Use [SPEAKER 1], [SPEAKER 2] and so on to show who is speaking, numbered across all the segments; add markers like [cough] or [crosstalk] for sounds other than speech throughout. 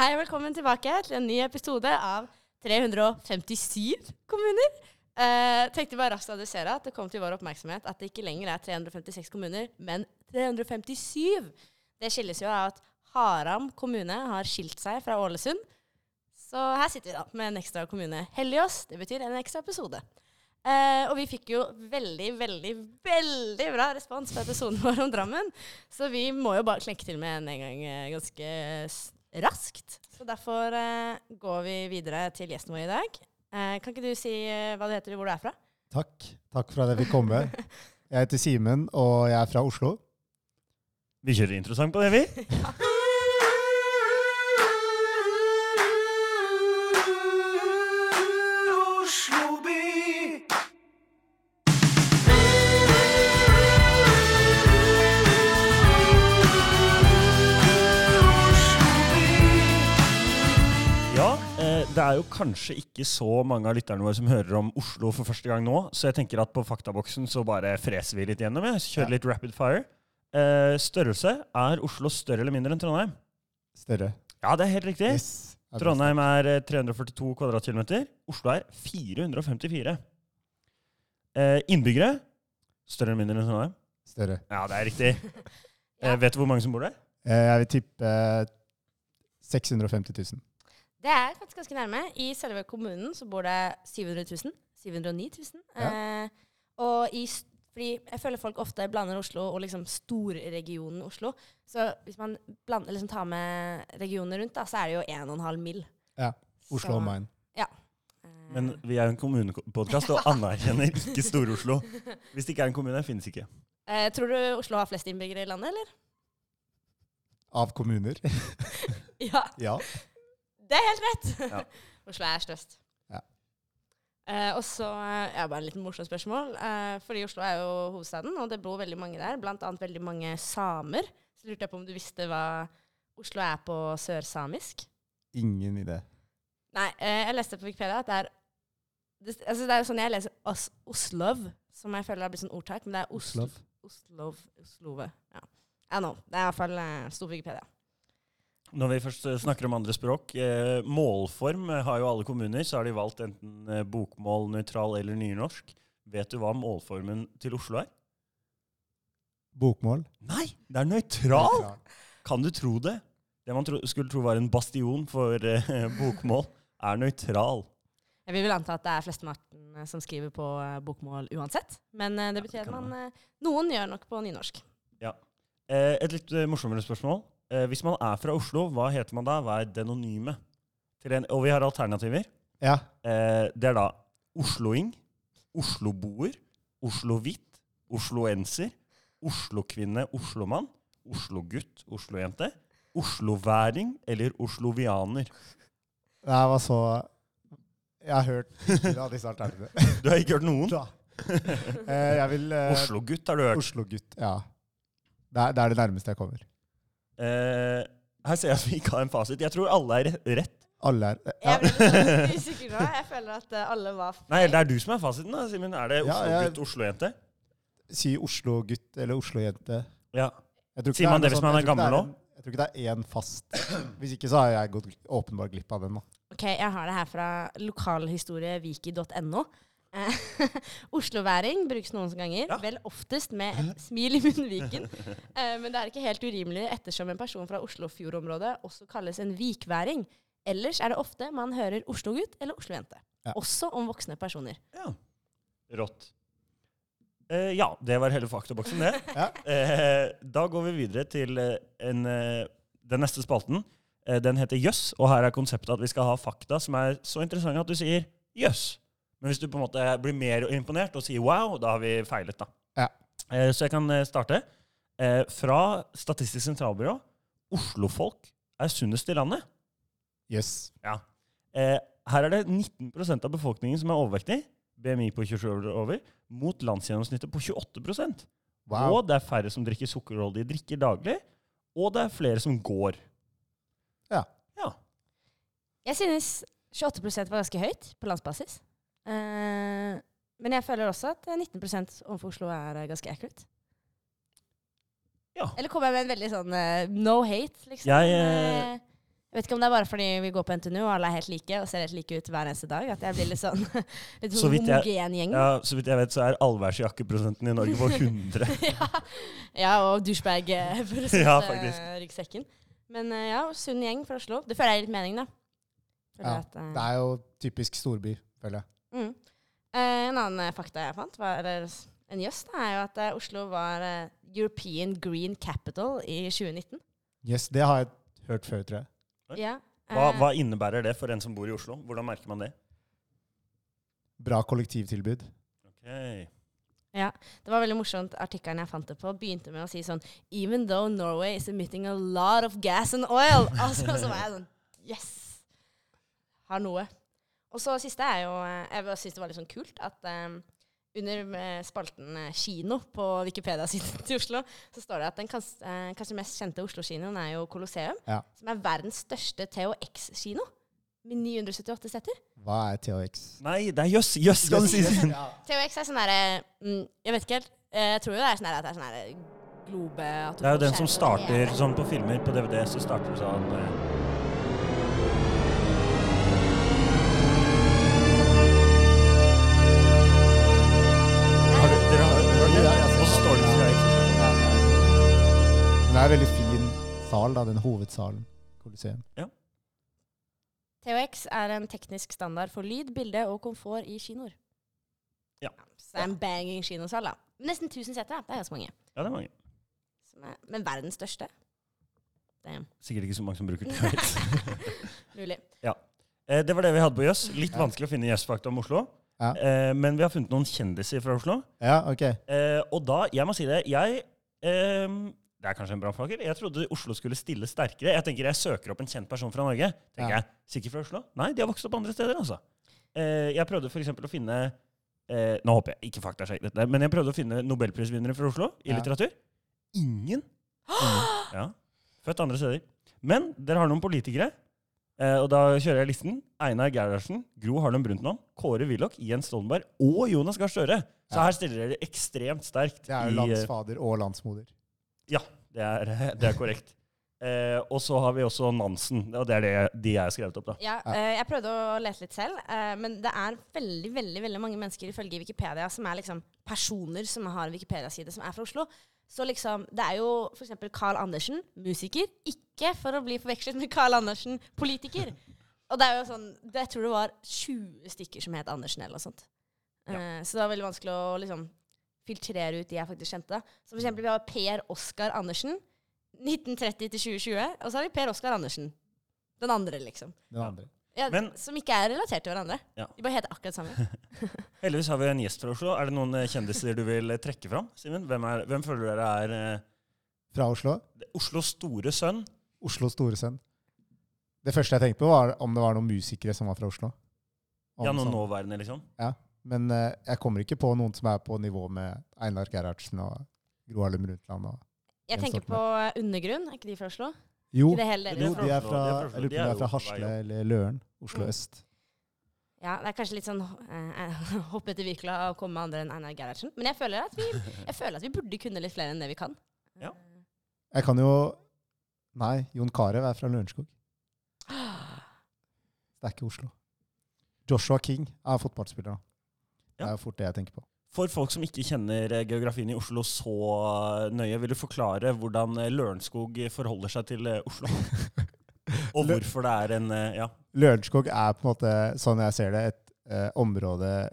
[SPEAKER 1] Hei og velkommen tilbake til en ny episode av 357 kommuner. Eh, tenkte bare raskt å adressere at det kom til vår oppmerksomhet at det ikke lenger er 356 kommuner, men 357. Det skilles jo av at Haram kommune har skilt seg fra Ålesund. Så her sitter vi da med en ekstra kommune. Heldig oss, det betyr en ekstra episode. Eh, og vi fikk jo veldig, veldig, veldig bra respons på episoden [laughs] vår om Drammen. Så vi må jo bare klekke til med en en gang eh, ganske s- raskt. Så derfor eh, går vi videre til gjesten vår i dag. Eh, kan ikke du si eh, hva du heter og hvor du er fra?
[SPEAKER 2] Takk. Takk for at jeg fikk komme. Jeg heter Simen, og jeg er fra Oslo.
[SPEAKER 3] Vi kjører interessant på det, vi.
[SPEAKER 4] Oslo by.
[SPEAKER 3] [laughs] Ja, eh, Det er jo kanskje ikke så mange av lytterne våre som hører om Oslo for første gang nå, så jeg tenker at på faktaboksen så bare freser vi litt gjennom. Jeg. Kjører
[SPEAKER 2] Ja.
[SPEAKER 3] litt rapid fire. Eh, Størrelse. Er Oslo større eller mindre enn Trondheim?
[SPEAKER 2] Større.
[SPEAKER 3] Ja, det er helt riktig.
[SPEAKER 2] Yes. Det er best.
[SPEAKER 3] Trondheim er eh, 342 kvadratkilometer. Oslo er 454. Eh, innbyggere. Større eller mindre enn Trondheim?
[SPEAKER 2] Større.
[SPEAKER 3] Ja, det er riktig. [laughs]
[SPEAKER 1] Ja.
[SPEAKER 3] Eh, vet du hvor mange som bor der?
[SPEAKER 2] Eh, Jeg vil tippe 650 000.
[SPEAKER 1] Det er faktisk ganske nærme. I selve kommunen så bor det 700 000. 709 000. Eh, og i, s- fordi jeg føler folk ofte blander Oslo og liksom storregionen Oslo. Så hvis man blander, liksom tar med regionene rundt, da, så er det jo 1,5 mil.
[SPEAKER 2] Ja, Oslo og Main.
[SPEAKER 1] Eh,
[SPEAKER 3] Men vi er jo en kommunepodkast og anerkjenner ikke Stor-Oslo. Hvis det ikke er en kommune, finnes ikke.
[SPEAKER 1] eh, tror du Oslo har flest innbyggere i landet, eller?
[SPEAKER 2] Av kommuner. [laughs]
[SPEAKER 1] Ja,
[SPEAKER 2] Ja.
[SPEAKER 1] det er helt rett.
[SPEAKER 3] Ja.
[SPEAKER 1] [laughs] Oslo er størst.
[SPEAKER 2] Ja.
[SPEAKER 1] Eh, og så eh, ja, bare en liten morsom spørsmål. Eh, fordi Oslo er jo hovedstaden, og det bor veldig mange der. Blant annet veldig mange samer. Så lurte jeg på om du visste hva Oslo er på sørsamisk?
[SPEAKER 2] Ingen idé.
[SPEAKER 1] Nei, eh, jeg leste på Wikipedia at det er det, altså det er jo sånn jeg leser Os Oslov, som jeg føler har blitt sånn ordtak, men det er Oslo.
[SPEAKER 2] Slav.
[SPEAKER 1] Oslov, Oslove. Ja. I don't know. Det er i hvert fall eh, stor Wikipedia.
[SPEAKER 3] Når vi først eh, snakker om andre språk, eh, målform eh, har jo alle kommuner, så har de valgt enten eh, bokmål, nøytral eller nynorsk. Vet du hva målformen til Oslo er?
[SPEAKER 2] Bokmål.
[SPEAKER 3] Nei, det er nøytral! Kan du tro det? Det man tro, skulle tro var en bastion for eh, bokmål, er nøytral.
[SPEAKER 1] Jeg vil vel anta at det er flesteparten eh, som skriver på eh, bokmål uansett. Men eh, det
[SPEAKER 3] Ja,
[SPEAKER 1] betyr
[SPEAKER 3] det
[SPEAKER 1] at
[SPEAKER 3] kan
[SPEAKER 1] man eh, Noen gjør nok på nynorsk.
[SPEAKER 3] Eh, et litt eh, morsommere spørsmål. Eh, hvis man er fra Oslo, hva heter man da? Hva er denonyme? Til en, og vi har alternativer.
[SPEAKER 2] Ja.
[SPEAKER 3] Eh, det er da osloing, osloboer, oslohvitt, osloenser, oslokvinne, oslomann, oslogutt, oslojente, osloværing eller oslovianer.
[SPEAKER 2] Det her var så Jeg har hørt ingen av disse alternativene. [laughs]
[SPEAKER 3] Du har ikke hørt noen?
[SPEAKER 2] Da. Eh, Jeg vil eh,
[SPEAKER 3] Oslogutt har du hørt.
[SPEAKER 2] Oslo-gutt. Ja. Det er, det er det nærmeste jeg kommer.
[SPEAKER 3] Eh, her ser jeg at vi ikke har en fasit. Jeg tror alle er re- rett.
[SPEAKER 2] Alle er eh, ja.
[SPEAKER 1] Jeg blir litt sånn usikker nå. Jeg føler at eh, alle var f-
[SPEAKER 3] Nei, det er du som er fasiten, da, Simen. Er det
[SPEAKER 2] Ja, jeg-
[SPEAKER 3] oslogutt, oslojente?
[SPEAKER 2] Si Oslo-gutt eller Oslo-jente.
[SPEAKER 3] Ja.
[SPEAKER 2] Jeg tror ikke
[SPEAKER 3] Sier man
[SPEAKER 2] noe
[SPEAKER 3] det hvis
[SPEAKER 2] sånn-
[SPEAKER 3] man
[SPEAKER 2] jeg
[SPEAKER 3] er
[SPEAKER 2] tror ikke
[SPEAKER 3] gammel
[SPEAKER 2] det en- Jeg tror ikke det er én fast. Hvis ikke så har jeg gått gl- åpenbart glipp av den. da.
[SPEAKER 1] OK, jeg har det her fra lokalhistorieviki.no. Eh, [laughs] Osloværing brukes noen ganger,
[SPEAKER 3] Ja.
[SPEAKER 1] vel oftest med et smil i munnviken. Eh, men det er ikke helt urimelig ettersom en person fra Oslofjordområdet også kalles en vikværing. Ellers er det ofte man hører oslogutt eller oslojente.
[SPEAKER 2] Ja.
[SPEAKER 1] Også om voksne personer.
[SPEAKER 3] Ja. Rått. Eh, ja, det var hele faktaboksen, det.
[SPEAKER 2] Ja.
[SPEAKER 3] Eh, da går vi videre til eh, en, eh, den neste spalten. Eh, den heter Jøss, og her er konseptet at vi skal ha fakta som er så interessante at du sier jøss. Men hvis du på en måte blir mer imponert og sier wow, da har vi feilet, da.
[SPEAKER 2] Ja.
[SPEAKER 3] Eh, så jeg kan eh, starte. Eh, fra Statistisk sentralbyrå Oslofolk er sunnest i landet.
[SPEAKER 2] Jøss.
[SPEAKER 3] Eh, her er det 19 av befolkningen som er overvektig, BMI på 27 år og over, mot landsgjennomsnittet på 28
[SPEAKER 2] Wow.
[SPEAKER 3] Og det er færre som drikker sukkerholdige drikker daglig, og det er flere som går.
[SPEAKER 2] Ja.
[SPEAKER 3] Ja.
[SPEAKER 1] Jeg synes 28 var ganske høyt på landsbasis. Eh, men jeg føler også at 19 overfor Oslo er eh, ganske accurate.
[SPEAKER 3] Ja.
[SPEAKER 1] Eller kommer jeg med en veldig sånn eh, no hate, liksom? Eh,
[SPEAKER 3] Jeg,
[SPEAKER 1] Jeg vet ikke om det er bare fordi vi går på NTNU og alle er helt like og ser helt like ut hver eneste dag, at jeg blir litt sånn, [laughs] litt
[SPEAKER 3] Så
[SPEAKER 1] sånn
[SPEAKER 3] vidt jeg-
[SPEAKER 1] homogen gjeng.
[SPEAKER 3] Ja, så vidt jeg vet, så er allværsjakkeprosenten i Norge på 100.
[SPEAKER 1] [laughs] [laughs] ja. ja, og eh,
[SPEAKER 3] [laughs]
[SPEAKER 1] douchebag-ryggsekken.
[SPEAKER 3] Ja, faktisk.
[SPEAKER 1] ryggsekken. Men eh, ja, sunn gjeng fra Oslo. Det føler jeg er litt mening, da. Føler
[SPEAKER 2] Ja,
[SPEAKER 1] at, eh,
[SPEAKER 2] Det er jo typisk storby, føler jeg.
[SPEAKER 1] Mm. Eh, en annen eh, fakta jeg fant, var, eller s- en jøss, da, er jo at eh, Oslo var eh, European Green Capital i 2019.
[SPEAKER 2] Yes, det har jeg hørt før, tror jeg.
[SPEAKER 3] Oi.
[SPEAKER 1] Ja.
[SPEAKER 3] Hva,
[SPEAKER 1] eh,
[SPEAKER 3] hva innebærer det for en som bor i Oslo? Hvordan merker man det?
[SPEAKER 2] Bra kollektivtilbud.
[SPEAKER 3] Ok.
[SPEAKER 1] Det var veldig morsomt. Artikkelen jeg fant det på, begynte med å si sånn Even though Norway is emitting a lot of gas and oil. [laughs] Altså, så var jeg sånn Yes! Har noe. Og så siste er jo eh, Jeg bare syns det var litt sånn kult at eh, under eh, spalten eh, kino på Wikipedia-siden [laughs] til Oslo, så står det at den kans eh, kanskje mest kjente Oslo-kinoen er jo Colosseum,
[SPEAKER 2] Ja.
[SPEAKER 1] som er verdens største THX-kino. Med 978 setter.
[SPEAKER 2] Hva er THX?
[SPEAKER 3] Nei, det er jøss! Jøss, skal det sies!
[SPEAKER 2] Ja.
[SPEAKER 1] THX er sånn derre mm, Jeg vet ikke helt. eh, Jeg tror jo det er sånn derre at det er sånn derre globe at du
[SPEAKER 3] Det er jo
[SPEAKER 1] får
[SPEAKER 3] den som
[SPEAKER 1] skjermen.
[SPEAKER 3] starter sånn på filmer. På DVD så starter det sånn eh, har du- Dere har dere har
[SPEAKER 2] Ja, ja,
[SPEAKER 3] det? Og så står det så jeg ikke-
[SPEAKER 2] Men det er en veldig fin sal, da, den hovedsalen. Colosseum.
[SPEAKER 1] THX er en teknisk standard for lyd, bilde og komfort i kinoer.
[SPEAKER 3] Ja.
[SPEAKER 1] Så det er en banging kinosal, da. Nesten 1000 seter, da. Det er ganske mange.
[SPEAKER 3] Ja, det er mange.
[SPEAKER 1] Som er, men verdens største. Damn.
[SPEAKER 3] Sikkert ikke så mange som bruker THX.
[SPEAKER 1] Mulig.
[SPEAKER 3] Eh, Det var det vi hadde på Jøss. Litt vanskelig å finne jøssfakta om Oslo.
[SPEAKER 2] Ja.
[SPEAKER 3] Eh, Men vi har funnet noen kjendiser fra Oslo.
[SPEAKER 2] Ja, ok.
[SPEAKER 3] Eh, og da, jeg må si det, jeg ehm, Det er kanskje en brannfakkel. Jeg trodde Oslo skulle stille sterkere. Jeg tenker jeg søker opp en kjent person fra Norge.
[SPEAKER 2] Ja.
[SPEAKER 3] Tenker jeg, Sikkert fra Oslo? Nei, de har vokst opp andre steder, altså. Eh, jeg prøvde f.eks. å finne eh, Nå håper jeg ikke faktasjekk dette, men jeg prøvde å finne nobelprisvinnere fra Oslo i
[SPEAKER 2] Ja.
[SPEAKER 3] litteratur. Ingen. Ingen.
[SPEAKER 2] [gasps]
[SPEAKER 3] Ja. Født andre steder. Men dere har noen politikere. Eh, og da kjører jeg listen. Einar Gerhardsen, Gro Harlem Brundtland, Kåre Willoch, Jens Stoltenberg og Jonas Gahr Støre. Så
[SPEAKER 2] Ja.
[SPEAKER 3] her stiller dere ekstremt sterkt.
[SPEAKER 2] Det er jo
[SPEAKER 3] i, eh,
[SPEAKER 2] landsfader og landsmoder.
[SPEAKER 3] det er, [laughs] det er korrekt. Eh, og så har vi også Nansen. Og det er det, de jeg har skrevet opp, da.
[SPEAKER 1] Ja, eh, jeg prøvde å lete litt selv, eh, men det er veldig veldig, veldig mange mennesker ifølge Wikipedia som er liksom personer som har en Wikipedia-side som er fra Oslo. Så liksom, Det er jo f.eks. Carl Andersen, musiker. Ikke for å bli forvekslet med Carl Andersen, politiker. Og det er jo sånn, det- Jeg tror det var 20 stykker som het Andersen eller noe sånt. Eh, Så det var veldig vanskelig å liksom filtrere ut de jeg faktisk kjente. da. Så for eksempel, vi har Per Oskar Andersen. 1930 til 2020. Og så har vi Per Oskar Andersen. Den andre, liksom.
[SPEAKER 2] Den
[SPEAKER 3] Ja.
[SPEAKER 2] andre.
[SPEAKER 1] Ja,
[SPEAKER 3] Men-
[SPEAKER 1] som ikke er relatert til hverandre.
[SPEAKER 3] Ja.
[SPEAKER 1] De bare heter akkurat samme.
[SPEAKER 3] Heldigvis har vi en gjest fra Oslo. Er det noen eh, kjendiser du vil eh, trekke fram? Simen? Hvem, er, hvem føler dere er eh,
[SPEAKER 2] Fra Oslo.
[SPEAKER 3] det- Oslos store sønn?
[SPEAKER 2] Oslo Storesønn. Det første jeg tenkte på, var om det var noen musikere som var fra Oslo. Om
[SPEAKER 3] Ja, noen
[SPEAKER 2] sånn.
[SPEAKER 3] nåværende, liksom?
[SPEAKER 2] Men eh, jeg kommer ikke på noen som er på nivå med Einar Gerhardsen og Gro Harlem Brundtland. Og...
[SPEAKER 1] Jeg
[SPEAKER 2] Jens
[SPEAKER 1] tenker på eh, Undergrunn. Er ikke de fra Oslo?
[SPEAKER 2] Jo,
[SPEAKER 1] Ikke det hele
[SPEAKER 3] Jo,
[SPEAKER 1] dere
[SPEAKER 2] jo,
[SPEAKER 1] er fra
[SPEAKER 2] de
[SPEAKER 1] Oslo?
[SPEAKER 2] er
[SPEAKER 3] Oslo,
[SPEAKER 2] fra,
[SPEAKER 3] de er fra
[SPEAKER 2] jeg
[SPEAKER 3] Oslo.
[SPEAKER 2] lurer på om de er fra
[SPEAKER 3] De er jo på vei
[SPEAKER 2] Hasle
[SPEAKER 3] opp.
[SPEAKER 2] eller Løren. Oslo
[SPEAKER 1] Mm.
[SPEAKER 2] øst.
[SPEAKER 1] Ja, det er kanskje litt sånn eh, [laughs] hopp etter Wirkola å komme med andre enn Einar Gerhardsen. Men jeg føler, at vi, jeg føler at vi burde kunne litt flere enn det vi kan.
[SPEAKER 3] Ja.
[SPEAKER 2] Jeg kan jo Nei, Jon Carew er fra Lørenskog.
[SPEAKER 1] Eh,
[SPEAKER 2] Det er ikke Oslo. Joshua King er fotballspiller. da. Det
[SPEAKER 3] Ja.
[SPEAKER 2] er jo fort det jeg tenker på.
[SPEAKER 3] For folk som ikke kjenner eh, geografien i Oslo så eh, nøye, vil du forklare hvordan eh, Lørenskog forholder seg til eh,
[SPEAKER 2] [laughs]
[SPEAKER 3] Oslo? Og
[SPEAKER 2] Lø-
[SPEAKER 3] hvorfor det er en eh, Ja.
[SPEAKER 2] Lørenskog er på en måte, sånn jeg ser det, et eh, område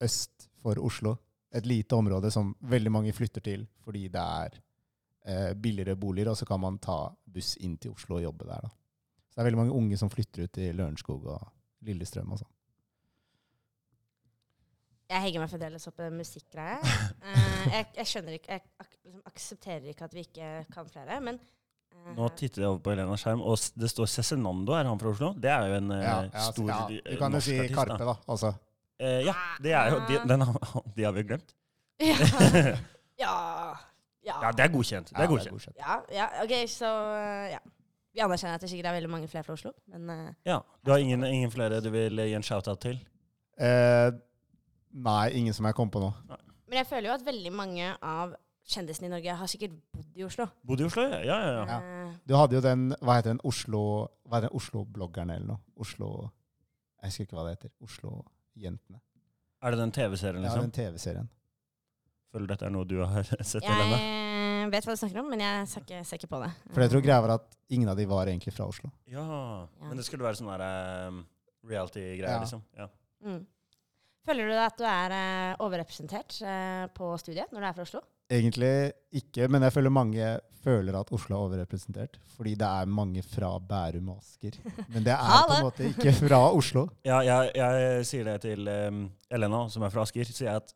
[SPEAKER 2] øst for Oslo. Et lite område som veldig mange flytter til fordi det er eh, billigere boliger, og så kan man ta buss inn til Oslo og jobbe der. Da. Så det er veldig mange unge som flytter ut til Lørenskog og Lillestrøm og sånn.
[SPEAKER 1] Jeg henger meg fremdeles opp i den musikkgreia. Eh, jeg, jeg skjønner ikke Jeg ak liksom aksepterer ikke at vi ikke kan flere, men eh,
[SPEAKER 3] Nå titter jeg over på Elenas skjerm, og s- det står Cezinando. Er han fra Oslo? Det er jo en eh, stor
[SPEAKER 2] ja,
[SPEAKER 3] eh,
[SPEAKER 2] Du kan jo
[SPEAKER 3] norsk
[SPEAKER 2] si
[SPEAKER 3] artist,
[SPEAKER 2] Karpe,
[SPEAKER 3] da.
[SPEAKER 2] da. Altså,
[SPEAKER 3] Eh, ja, det er jo, de, den, har- [laughs] de har vi jo glemt.
[SPEAKER 1] [laughs] ja, ja, ja.
[SPEAKER 3] Ja, det er godkjent. Det er godkjent.
[SPEAKER 2] godkjent.
[SPEAKER 1] Ja, ja, ok, så eh, ja. Vi anerkjenner at det sikkert er veldig mange flere fra Oslo, men eh,
[SPEAKER 3] Ja, Du har ingen, ingen flere du vil gi en shout-out til?
[SPEAKER 2] Eh, nei, ingen som jeg kom på nå.
[SPEAKER 1] Men jeg føler jo at veldig mange av kjendisene i Norge har sikkert bodd i Oslo.
[SPEAKER 3] Bodd i Oslo? Ja, ja, ja.
[SPEAKER 2] Ja.
[SPEAKER 1] Eh,
[SPEAKER 2] Du hadde jo den Hva heter den Oslo Hva heter den Oslo-bloggeren eller noe? Oslo Jeg husker ikke hva det heter. Oslo-jentene.
[SPEAKER 3] Er det den TV-serien,
[SPEAKER 2] Ja,
[SPEAKER 3] liksom?
[SPEAKER 2] den TV-serien.
[SPEAKER 3] Føler dette er noe du har [laughs] sett? Helene?
[SPEAKER 1] jeg vet hva du snakker om, men jeg ser ikke, ser ikke på det.
[SPEAKER 2] For jeg tror greia var at ingen av de var egentlig fra Oslo.
[SPEAKER 3] Ja.
[SPEAKER 1] Ja.
[SPEAKER 3] Men det skulle være sånn der ehm,
[SPEAKER 2] Ja.
[SPEAKER 3] reality-greier, liksom. Ja.
[SPEAKER 1] Mm. Føler du at du er eh, overrepresentert eh, på studiet når du er fra Oslo?
[SPEAKER 2] Egentlig ikke, men jeg føler mange føler at Oslo er overrepresentert. Fordi det er mange fra Bærum og Asker. Men det er på
[SPEAKER 1] Ha
[SPEAKER 2] en måte ikke fra Oslo.
[SPEAKER 3] Ja, jeg, jeg sier det til ehm, Elena, som er fra Asker. sier jeg at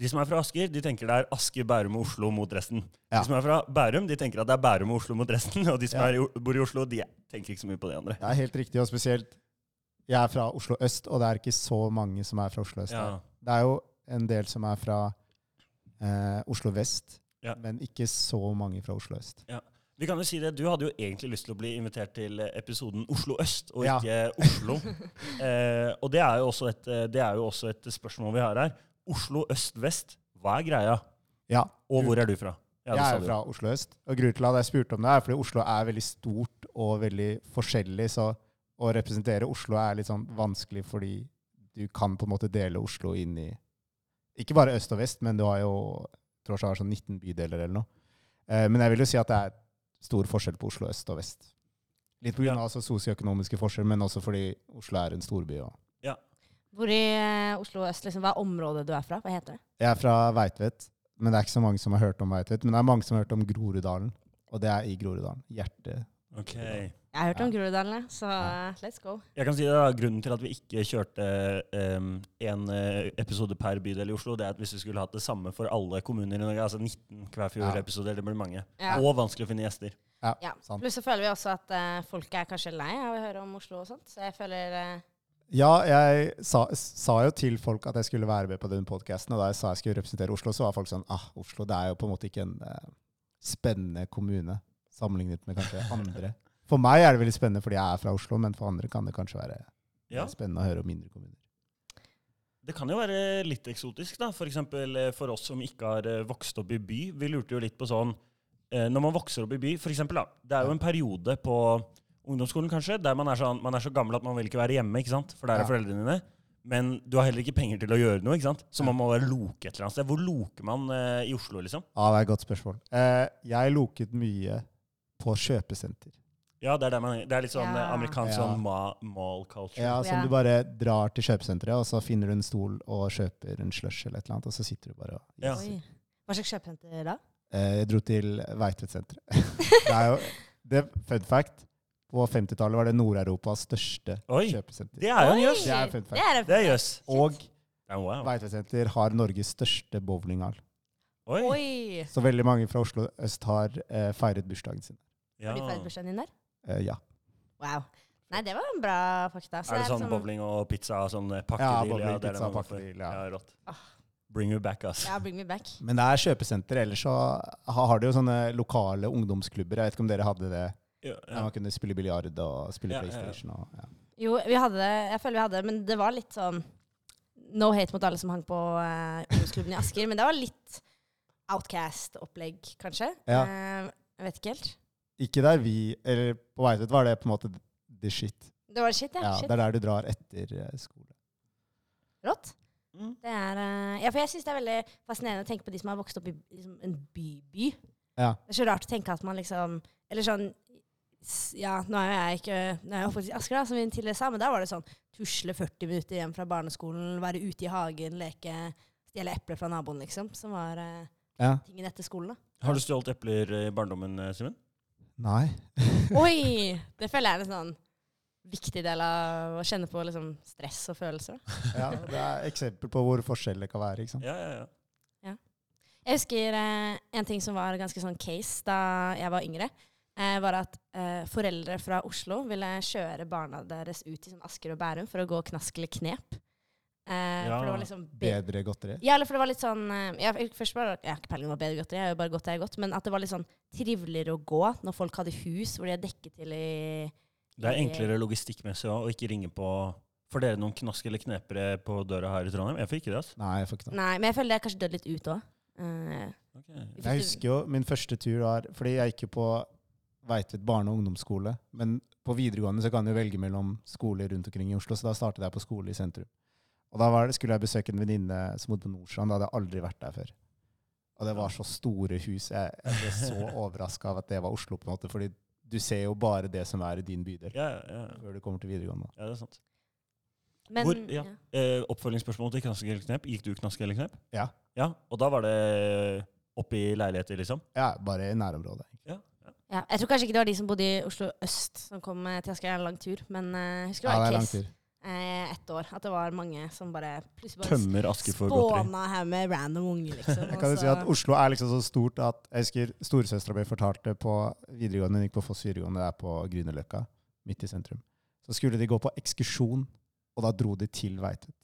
[SPEAKER 3] De som er fra Asker, de tenker det er Asker, Bærum og Oslo mot resten.
[SPEAKER 2] Ja.
[SPEAKER 3] De som er fra Bærum, de tenker at det er Bærum og Oslo mot resten. [laughs] Og de som
[SPEAKER 2] Ja.
[SPEAKER 3] er i, O- bor i Oslo, de tenker ikke så mye på de andre.
[SPEAKER 2] Det er helt riktig, og spesielt Jeg er fra Oslo øst, og det er ikke så mange som er fra Oslo øst.
[SPEAKER 3] Ja.
[SPEAKER 2] Det er jo en del som er fra eh, Oslo vest,
[SPEAKER 3] Ja.
[SPEAKER 2] men ikke så mange fra Oslo øst.
[SPEAKER 3] Vi kan jo si det, Du hadde jo egentlig lyst til å bli invitert til eh, episoden Oslo øst, og
[SPEAKER 2] Ja.
[SPEAKER 3] ikke Oslo. [laughs] eh, og det er, jo også et, eh, det er jo også et spørsmål vi har her. Oslo øst vest, hva er greia?
[SPEAKER 2] Ja,
[SPEAKER 3] Og hvor er du fra? Ja, det
[SPEAKER 2] jeg
[SPEAKER 3] sa
[SPEAKER 2] er jo
[SPEAKER 3] du.
[SPEAKER 2] fra Oslo øst, og grunnen til at jeg spurte om det, er fordi Oslo er veldig stort og veldig forskjellig, så å representere Oslo er litt sånn vanskelig fordi du kan på en måte dele Oslo inn i Ikke bare øst og vest, men du har jo jeg tror jeg har sånn 19 bydeler eller noe. Eh, men jeg vil jo si at det er stor forskjell på Oslo øst og vest. Litt pga.
[SPEAKER 3] Ja.
[SPEAKER 2] av altså sosioøkonomiske forskjeller, men også fordi Oslo er en storby. Og.
[SPEAKER 1] Hvor i eh, Oslo øst, liksom, hva er området du er fra? Hva heter det?
[SPEAKER 2] Jeg er fra Veitvet, men det er ikke så mange som har hørt om Veitvet. Men det er mange som har hørt om Groruddalen, og det er i Groruddalen. Hjertet
[SPEAKER 3] Ok.
[SPEAKER 1] Jeg har hørt om
[SPEAKER 2] Ja.
[SPEAKER 1] Groruddalen, jeg, så
[SPEAKER 2] Ja.
[SPEAKER 1] eh, let's go.
[SPEAKER 3] Jeg kan si det da, Grunnen til at vi ikke kjørte én episode per bydel i Oslo, det er at hvis vi skulle hatt det samme for alle kommuner i Norge, altså 19
[SPEAKER 2] Ja.
[SPEAKER 3] hver fjor-episoder, det blir mange.
[SPEAKER 1] Ja.
[SPEAKER 3] Og vanskelig å finne gjester.
[SPEAKER 1] Ja.
[SPEAKER 2] Sant.
[SPEAKER 1] Pluss så føler vi også at eh, folk er kanskje lei av å høre om Oslo og sånt. Så jeg føler eh,
[SPEAKER 2] Ja, jeg sa, sa jo til folk at jeg skulle være med på den podkasten, og da jeg sa jeg skulle representere Oslo, så var folk sånn ah, Oslo det er jo på en måte ikke en eh, spennende kommune sammenlignet med
[SPEAKER 3] [laughs]
[SPEAKER 2] kanskje andre. For meg er det veldig spennende fordi jeg er fra Oslo, men for andre kan det kanskje være eh,
[SPEAKER 3] Ja.
[SPEAKER 2] spennende å høre om mindre kommuner.
[SPEAKER 3] Det kan jo være litt eksotisk, da. For eksempel eh, for oss som ikke har eh, vokst opp i by. Vi lurte jo litt på sånn eh, Når man vokser opp i by, for eksempel, da. Det er jo en periode på ungdomsskolen, kanskje, der man er, sånn, man er så gammel at man vil ikke være hjemme, ikke sant? For der er
[SPEAKER 2] Ja.
[SPEAKER 3] foreldrene dine. Men du har heller ikke penger til å gjøre noe, ikke sant? Så man må bare loke et eller annet sted. Hvor loker man eh, i Oslo, liksom?
[SPEAKER 2] Ja, det er et godt spørsmål. Eh, jeg loket mye på kjøpesenter.
[SPEAKER 3] Ja, det er, der man, det er litt sånn eh,
[SPEAKER 1] Ja.
[SPEAKER 3] amerikansk
[SPEAKER 2] Ja.
[SPEAKER 3] sånn ma mall culture.
[SPEAKER 2] Ja,
[SPEAKER 1] Ja.
[SPEAKER 2] Som du bare drar til kjøpesenteret, og så finner du en stol og kjøper en slush eller et eller annet, og så sitter du bare og
[SPEAKER 3] Ja.
[SPEAKER 1] Oi. Hva slags kjøpesenter da?
[SPEAKER 2] Eh, Jeg dro til Veitvet-senteret. [laughs] det er jo det, Fun fact. På 50-tallet var det Nord-Europas største
[SPEAKER 3] Oi!
[SPEAKER 2] kjøpesenter.
[SPEAKER 3] Det er jo en
[SPEAKER 1] Oi!
[SPEAKER 3] jøss!
[SPEAKER 2] Det er fun fact.
[SPEAKER 1] Det er en-
[SPEAKER 3] Det er jøss.
[SPEAKER 2] Og
[SPEAKER 3] Ja, wow.
[SPEAKER 2] Veitvet-senter har Norges største bowlinghall.
[SPEAKER 3] Oi!
[SPEAKER 1] Oi!
[SPEAKER 2] Så veldig mange fra Oslo øst har eh, feiret bursdagen sin.
[SPEAKER 3] Ja.
[SPEAKER 1] Har de feiret
[SPEAKER 3] Er
[SPEAKER 1] bursdagen din der?
[SPEAKER 2] Eh, ja.
[SPEAKER 1] Wow. Nei, det var en bra fakta. Så
[SPEAKER 3] det sånn
[SPEAKER 1] liksom-
[SPEAKER 3] bowling og pizza og sånn eh,
[SPEAKER 2] Ja,
[SPEAKER 3] pakkedeal?
[SPEAKER 2] bowling,
[SPEAKER 3] det er det
[SPEAKER 2] pizza,
[SPEAKER 3] man får.
[SPEAKER 2] pakkedeal,
[SPEAKER 3] Ja,
[SPEAKER 2] ja.
[SPEAKER 3] rått.
[SPEAKER 1] Ah.
[SPEAKER 3] Bring you back, ass.
[SPEAKER 1] Ja, bring me back.
[SPEAKER 2] Men det er kjøpesenter. Ellers så ha- har de jo sånne lokale ungdomsklubber. Jeg vet ikke om dere hadde det.
[SPEAKER 3] Ja,
[SPEAKER 2] Der man kunne spille biljard og spille
[SPEAKER 3] Ja, ja, ja.
[SPEAKER 2] PlayStation. Og, ja.
[SPEAKER 1] Jo, vi hadde det. Jeg føler vi hadde det, men det var litt sånn No hate mot alle som hang på eh, ungdomsklubben i Asker, men det var litt outcast-opplegg, kanskje.
[SPEAKER 2] Ja.
[SPEAKER 1] Eh, jeg vet ikke helt.
[SPEAKER 2] Ikke der vi Eller på Veitvet var det på en måte the shit.
[SPEAKER 1] Det var shit, ja.
[SPEAKER 2] Ja,
[SPEAKER 1] shit.
[SPEAKER 2] det er der du drar etter eh, skole.
[SPEAKER 1] Rått.
[SPEAKER 3] Mm.
[SPEAKER 1] Det er, eh, ja, for jeg syns det er veldig fascinerende å tenke på de som har vokst opp i liksom, en byby.
[SPEAKER 2] Ja.
[SPEAKER 1] Det er så rart å tenke at man liksom Eller sånn s- Ja, nå er jo jeg ikke Nå er jeg oppvokst i Asker, da, som vi tidligere sa, men da var det sånn tusle 40 minutter hjem fra barneskolen, være ute i hagen, leke Stjele epler fra naboen, liksom. Som var eh,
[SPEAKER 2] Ja.
[SPEAKER 1] tingen etter skolen, da.
[SPEAKER 3] Har du stjålet epler eh, i barndommen, eh, Simen?
[SPEAKER 2] Nei.
[SPEAKER 1] Oi! Det føler jeg er en sånn viktig del av å kjenne på liksom, stress og følelser. da.
[SPEAKER 2] Ja, det er eksempel på hvor forskjellig det kan være. ikke sant?
[SPEAKER 3] Ja, ja, ja.
[SPEAKER 1] Jeg husker eh, en ting som var ganske sånn case da jeg var yngre. Eh, var at eh, foreldre fra Oslo ville kjøre barna deres ut i sånn Asker og Bærum for å gå knask eller knep. Eh,
[SPEAKER 3] Ja,
[SPEAKER 1] For det var liksom be-
[SPEAKER 2] Bedre godteri.
[SPEAKER 1] ja, eller for det var litt sånn eh, ja, Først var det Jeg har ikke peiling på hva bedre godteri er, jeg har jo bare godt det er godt. Men at det var litt sånn triveligere å gå når folk hadde hus hvor de er dekket til i
[SPEAKER 3] Det er enklere logistikkmessig også, å ikke ringe på Får dere noen knask eller knepere på døra her i Trondheim? Jeg får ikke det. ass.
[SPEAKER 2] Nei, jeg får ikke det.
[SPEAKER 1] Nei, men jeg føler det er kanskje dødd litt ut òg. Eh,
[SPEAKER 3] Ok.
[SPEAKER 1] vi
[SPEAKER 2] Jeg
[SPEAKER 1] fikk-
[SPEAKER 2] husker jo min første tur var Fordi jeg gikk jo på Veitvet barne- og ungdomsskole. Men på videregående så kan du velge mellom skoler rundt omkring i Oslo, så da startet jeg på skole i sentrum. Og da var det, skulle jeg besøke en venninne som bodde på Nordstrand. Da hadde jeg aldri vært der før. Og det var så store hus. Jeg, jeg ble så overraska av at det var Oslo, på en måte. Fordi du ser jo bare det som er i din bydel
[SPEAKER 3] Ja, ja, ja.
[SPEAKER 2] før du kommer til videregående.
[SPEAKER 3] ja, det er sant.
[SPEAKER 1] Men,
[SPEAKER 3] Hvor- ja. Eh, oppfølgingsspørsmål til Knask eller knep. Gikk du Knask eller knep?
[SPEAKER 2] Ja.
[SPEAKER 3] ja. Og da var det oppe i leiligheter, liksom?
[SPEAKER 2] Ja, bare i nærområdet.
[SPEAKER 3] Ja. ja.
[SPEAKER 1] Ja, jeg tror kanskje ikke det var de som bodde i Oslo øst som kom eh, til Asker. Det er en lang tur, men eh, jeg husker det
[SPEAKER 2] Ja,
[SPEAKER 1] var
[SPEAKER 2] det er
[SPEAKER 1] en
[SPEAKER 2] lang
[SPEAKER 1] case
[SPEAKER 2] tur.
[SPEAKER 1] eh, ett år. At det var mange som bare plutselig bare
[SPEAKER 3] Tømmer Asker for godteri.
[SPEAKER 1] spåna her med random unger, liksom.
[SPEAKER 2] Jeg
[SPEAKER 1] og
[SPEAKER 2] kan jo si
[SPEAKER 1] så-
[SPEAKER 2] at Oslo er liksom så stort at jeg husker storesøstera mi fortalte på videregående, hun gikk på Foss videregående der på Grünerløkka, midt i sentrum. Så skulle de gå på ekskursjon, og da dro de til
[SPEAKER 1] [laughs]
[SPEAKER 2] Veitvet.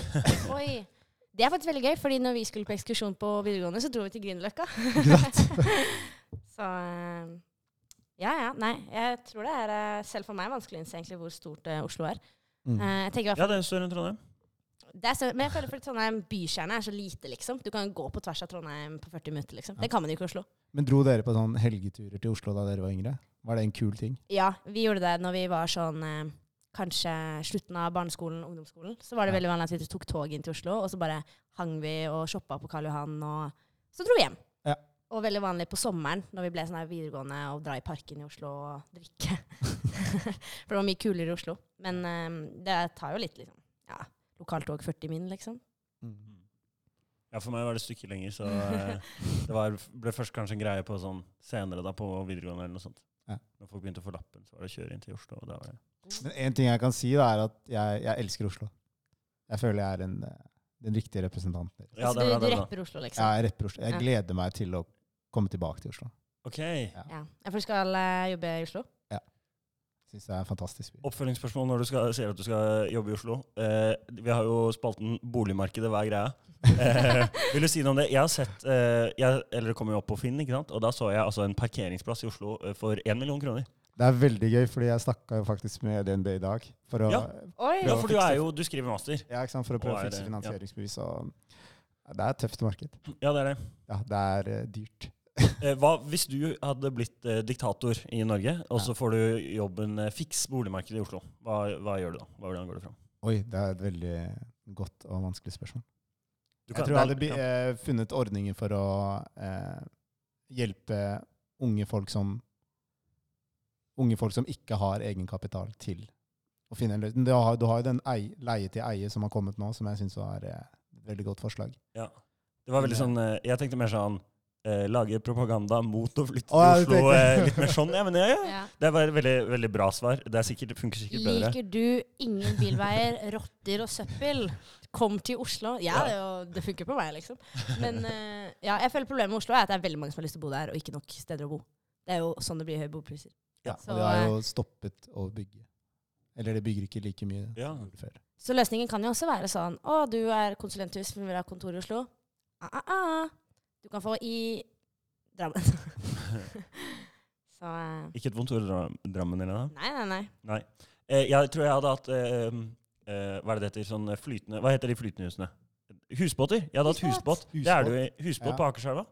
[SPEAKER 2] [laughs]
[SPEAKER 1] Oi. Det er faktisk veldig gøy, fordi når vi skulle på ekskursjon på videregående, så dro vi til Grünerløkka.
[SPEAKER 2] Ikke sant?
[SPEAKER 1] [laughs] så eh, ja, ja. Nei, jeg tror det er eh, selv for meg vanskelig å innse egentlig hvor stort eh, Oslo er.
[SPEAKER 2] Mm.
[SPEAKER 1] Eh, jeg tenker i hvert
[SPEAKER 3] Ja, det er større enn Trondheim.
[SPEAKER 1] fall, det er større, Men jeg føler fordi Trondheim bykjerne er så lite, liksom. Du kan gå på tvers av Trondheim på 40 minutter, liksom. Det kan man jo ikke i Oslo.
[SPEAKER 2] Men dro dere på sånn helgeturer til Oslo da dere var yngre? Var det en kul ting?
[SPEAKER 1] Ja, vi gjorde det når vi var sånn eh, Kanskje slutten av barneskolen, ungdomsskolen. Så var det
[SPEAKER 2] Ja.
[SPEAKER 1] veldig vanlig at vi tok tog inn til Oslo, og så bare hang vi og shoppa på Karl Johan, og så dro vi hjem.
[SPEAKER 2] Ja.
[SPEAKER 1] Og veldig vanlig på sommeren, når vi ble sånn her videregående, og dra i parken i Oslo og drikke. [laughs] For det var mye kulere i Oslo. Men eh, det tar jo litt, liksom. Ja, lokaltog 40 min, liksom.
[SPEAKER 3] Ja, for meg var det et stykke lenger, så eh, det var, ble først kanskje en greie på sånn senere da, på videregående eller noe sånt.
[SPEAKER 2] Ja.
[SPEAKER 3] Når folk begynte å få lappen, så var det å kjøre inn til Oslo. og da var det.
[SPEAKER 2] Men en ting jeg kan si, da, er at jeg, jeg elsker Oslo. Jeg føler jeg er en, eh, den riktige representanten. deres.
[SPEAKER 3] Ja,
[SPEAKER 1] Så
[SPEAKER 3] det
[SPEAKER 1] du, du
[SPEAKER 3] var det, det var det.
[SPEAKER 1] rapper Oslo, liksom.
[SPEAKER 2] Jeg rapper Oslo.
[SPEAKER 1] Ja.
[SPEAKER 2] Jeg gleder meg til å komme tilbake til Oslo.
[SPEAKER 3] Ok,
[SPEAKER 1] Ja. For du skal eh, jobbe i Oslo?
[SPEAKER 2] Syns det er en fantastisk by.
[SPEAKER 3] Oppfølgingsspørsmål når du skal, sier at du skal jobbe i Oslo. Eh, vi har jo spalten Boligmarkedet hver greie. Eh, vil du si noe om det? Jeg har sett, eh, jeg, eller det kommer jo opp på Finn, ikke sant? og da så jeg altså en parkeringsplass i Oslo eh, for én million kroner.
[SPEAKER 2] Det er veldig gøy, fordi jeg snakka jo faktisk med DNB i dag for å
[SPEAKER 3] Ja.
[SPEAKER 1] Oi!
[SPEAKER 3] Ja, for du er jo, du skriver master.
[SPEAKER 2] Ja, ikke sant? For å prøve å
[SPEAKER 3] Og er
[SPEAKER 2] fikse
[SPEAKER 3] det-
[SPEAKER 2] finansieringsbevis. Og Ja, det er et tøft marked.
[SPEAKER 3] Ja, det er det.
[SPEAKER 2] Ja, det er eh, dyrt.
[SPEAKER 3] Eh, Hva, hvis du hadde blitt eh, diktator i Norge, og så får du jobben eh, Fiks boligmarkedet i Oslo, hva, hva gjør du da? Hva, hvordan går det fram?
[SPEAKER 2] Oi, det er et veldig godt og vanskelig spørsmål.
[SPEAKER 3] Du
[SPEAKER 2] Jeg
[SPEAKER 3] kan-
[SPEAKER 2] tror jeg hadde
[SPEAKER 3] det
[SPEAKER 2] bi-
[SPEAKER 3] er- ja.
[SPEAKER 2] eh, funnet ordninger for å eh, hjelpe unge folk som Unge folk som ikke har egenkapital til å finne en løsning. Du har, du har jo den ei, leie til eie som har kommet nå, som jeg syns var eh, et veldig godt forslag.
[SPEAKER 3] Det var veldig sånn eh, Jeg tenkte mer sånn eh, Lage propaganda mot å flytte
[SPEAKER 2] Å, ja,
[SPEAKER 3] til
[SPEAKER 2] du
[SPEAKER 3] Oslo.
[SPEAKER 2] tenkte-
[SPEAKER 3] eh, litt mer sånn. Ja, men ja, ja.
[SPEAKER 1] Ja.
[SPEAKER 3] Det var et veldig, veldig bra svar. Det, er sikkert, det funker sikkert bedre.
[SPEAKER 1] Liker du ingen bilveier, [laughs] rotter og søppel? Kom til Oslo. Ja, det, er jo- det funker på meg, liksom. Men eh, ja, jeg føler problemet med Oslo er at det er veldig mange som har lyst til å bo der, og ikke nok steder å bo. Det er jo sånn det blir høye bopriser.
[SPEAKER 2] Ja,
[SPEAKER 1] Så,
[SPEAKER 2] og det har jo stoppet å bygge. Eller det bygger ikke like mye
[SPEAKER 3] Ja.
[SPEAKER 2] som det gjorde før.
[SPEAKER 1] Så løsningen kan jo også være sånn Å, du er konsulenthus, men vil ha kontor i Oslo. Ah, ah, ah. Du kan få i Drammen. [laughs] Så eh,
[SPEAKER 3] Ikke et vondt ord, Dra- Drammen eller noe.
[SPEAKER 1] Nei, nei, nei.
[SPEAKER 3] Eh, jeg tror jeg hadde hatt eh, eh, Hva er det det heter? Sånn flytende, hva heter de flytende husene? Husbåter. Jeg hadde hatt husbåt.
[SPEAKER 1] Husbåt.
[SPEAKER 3] Det er du i husbåt
[SPEAKER 2] Ja.
[SPEAKER 3] på Akerselva.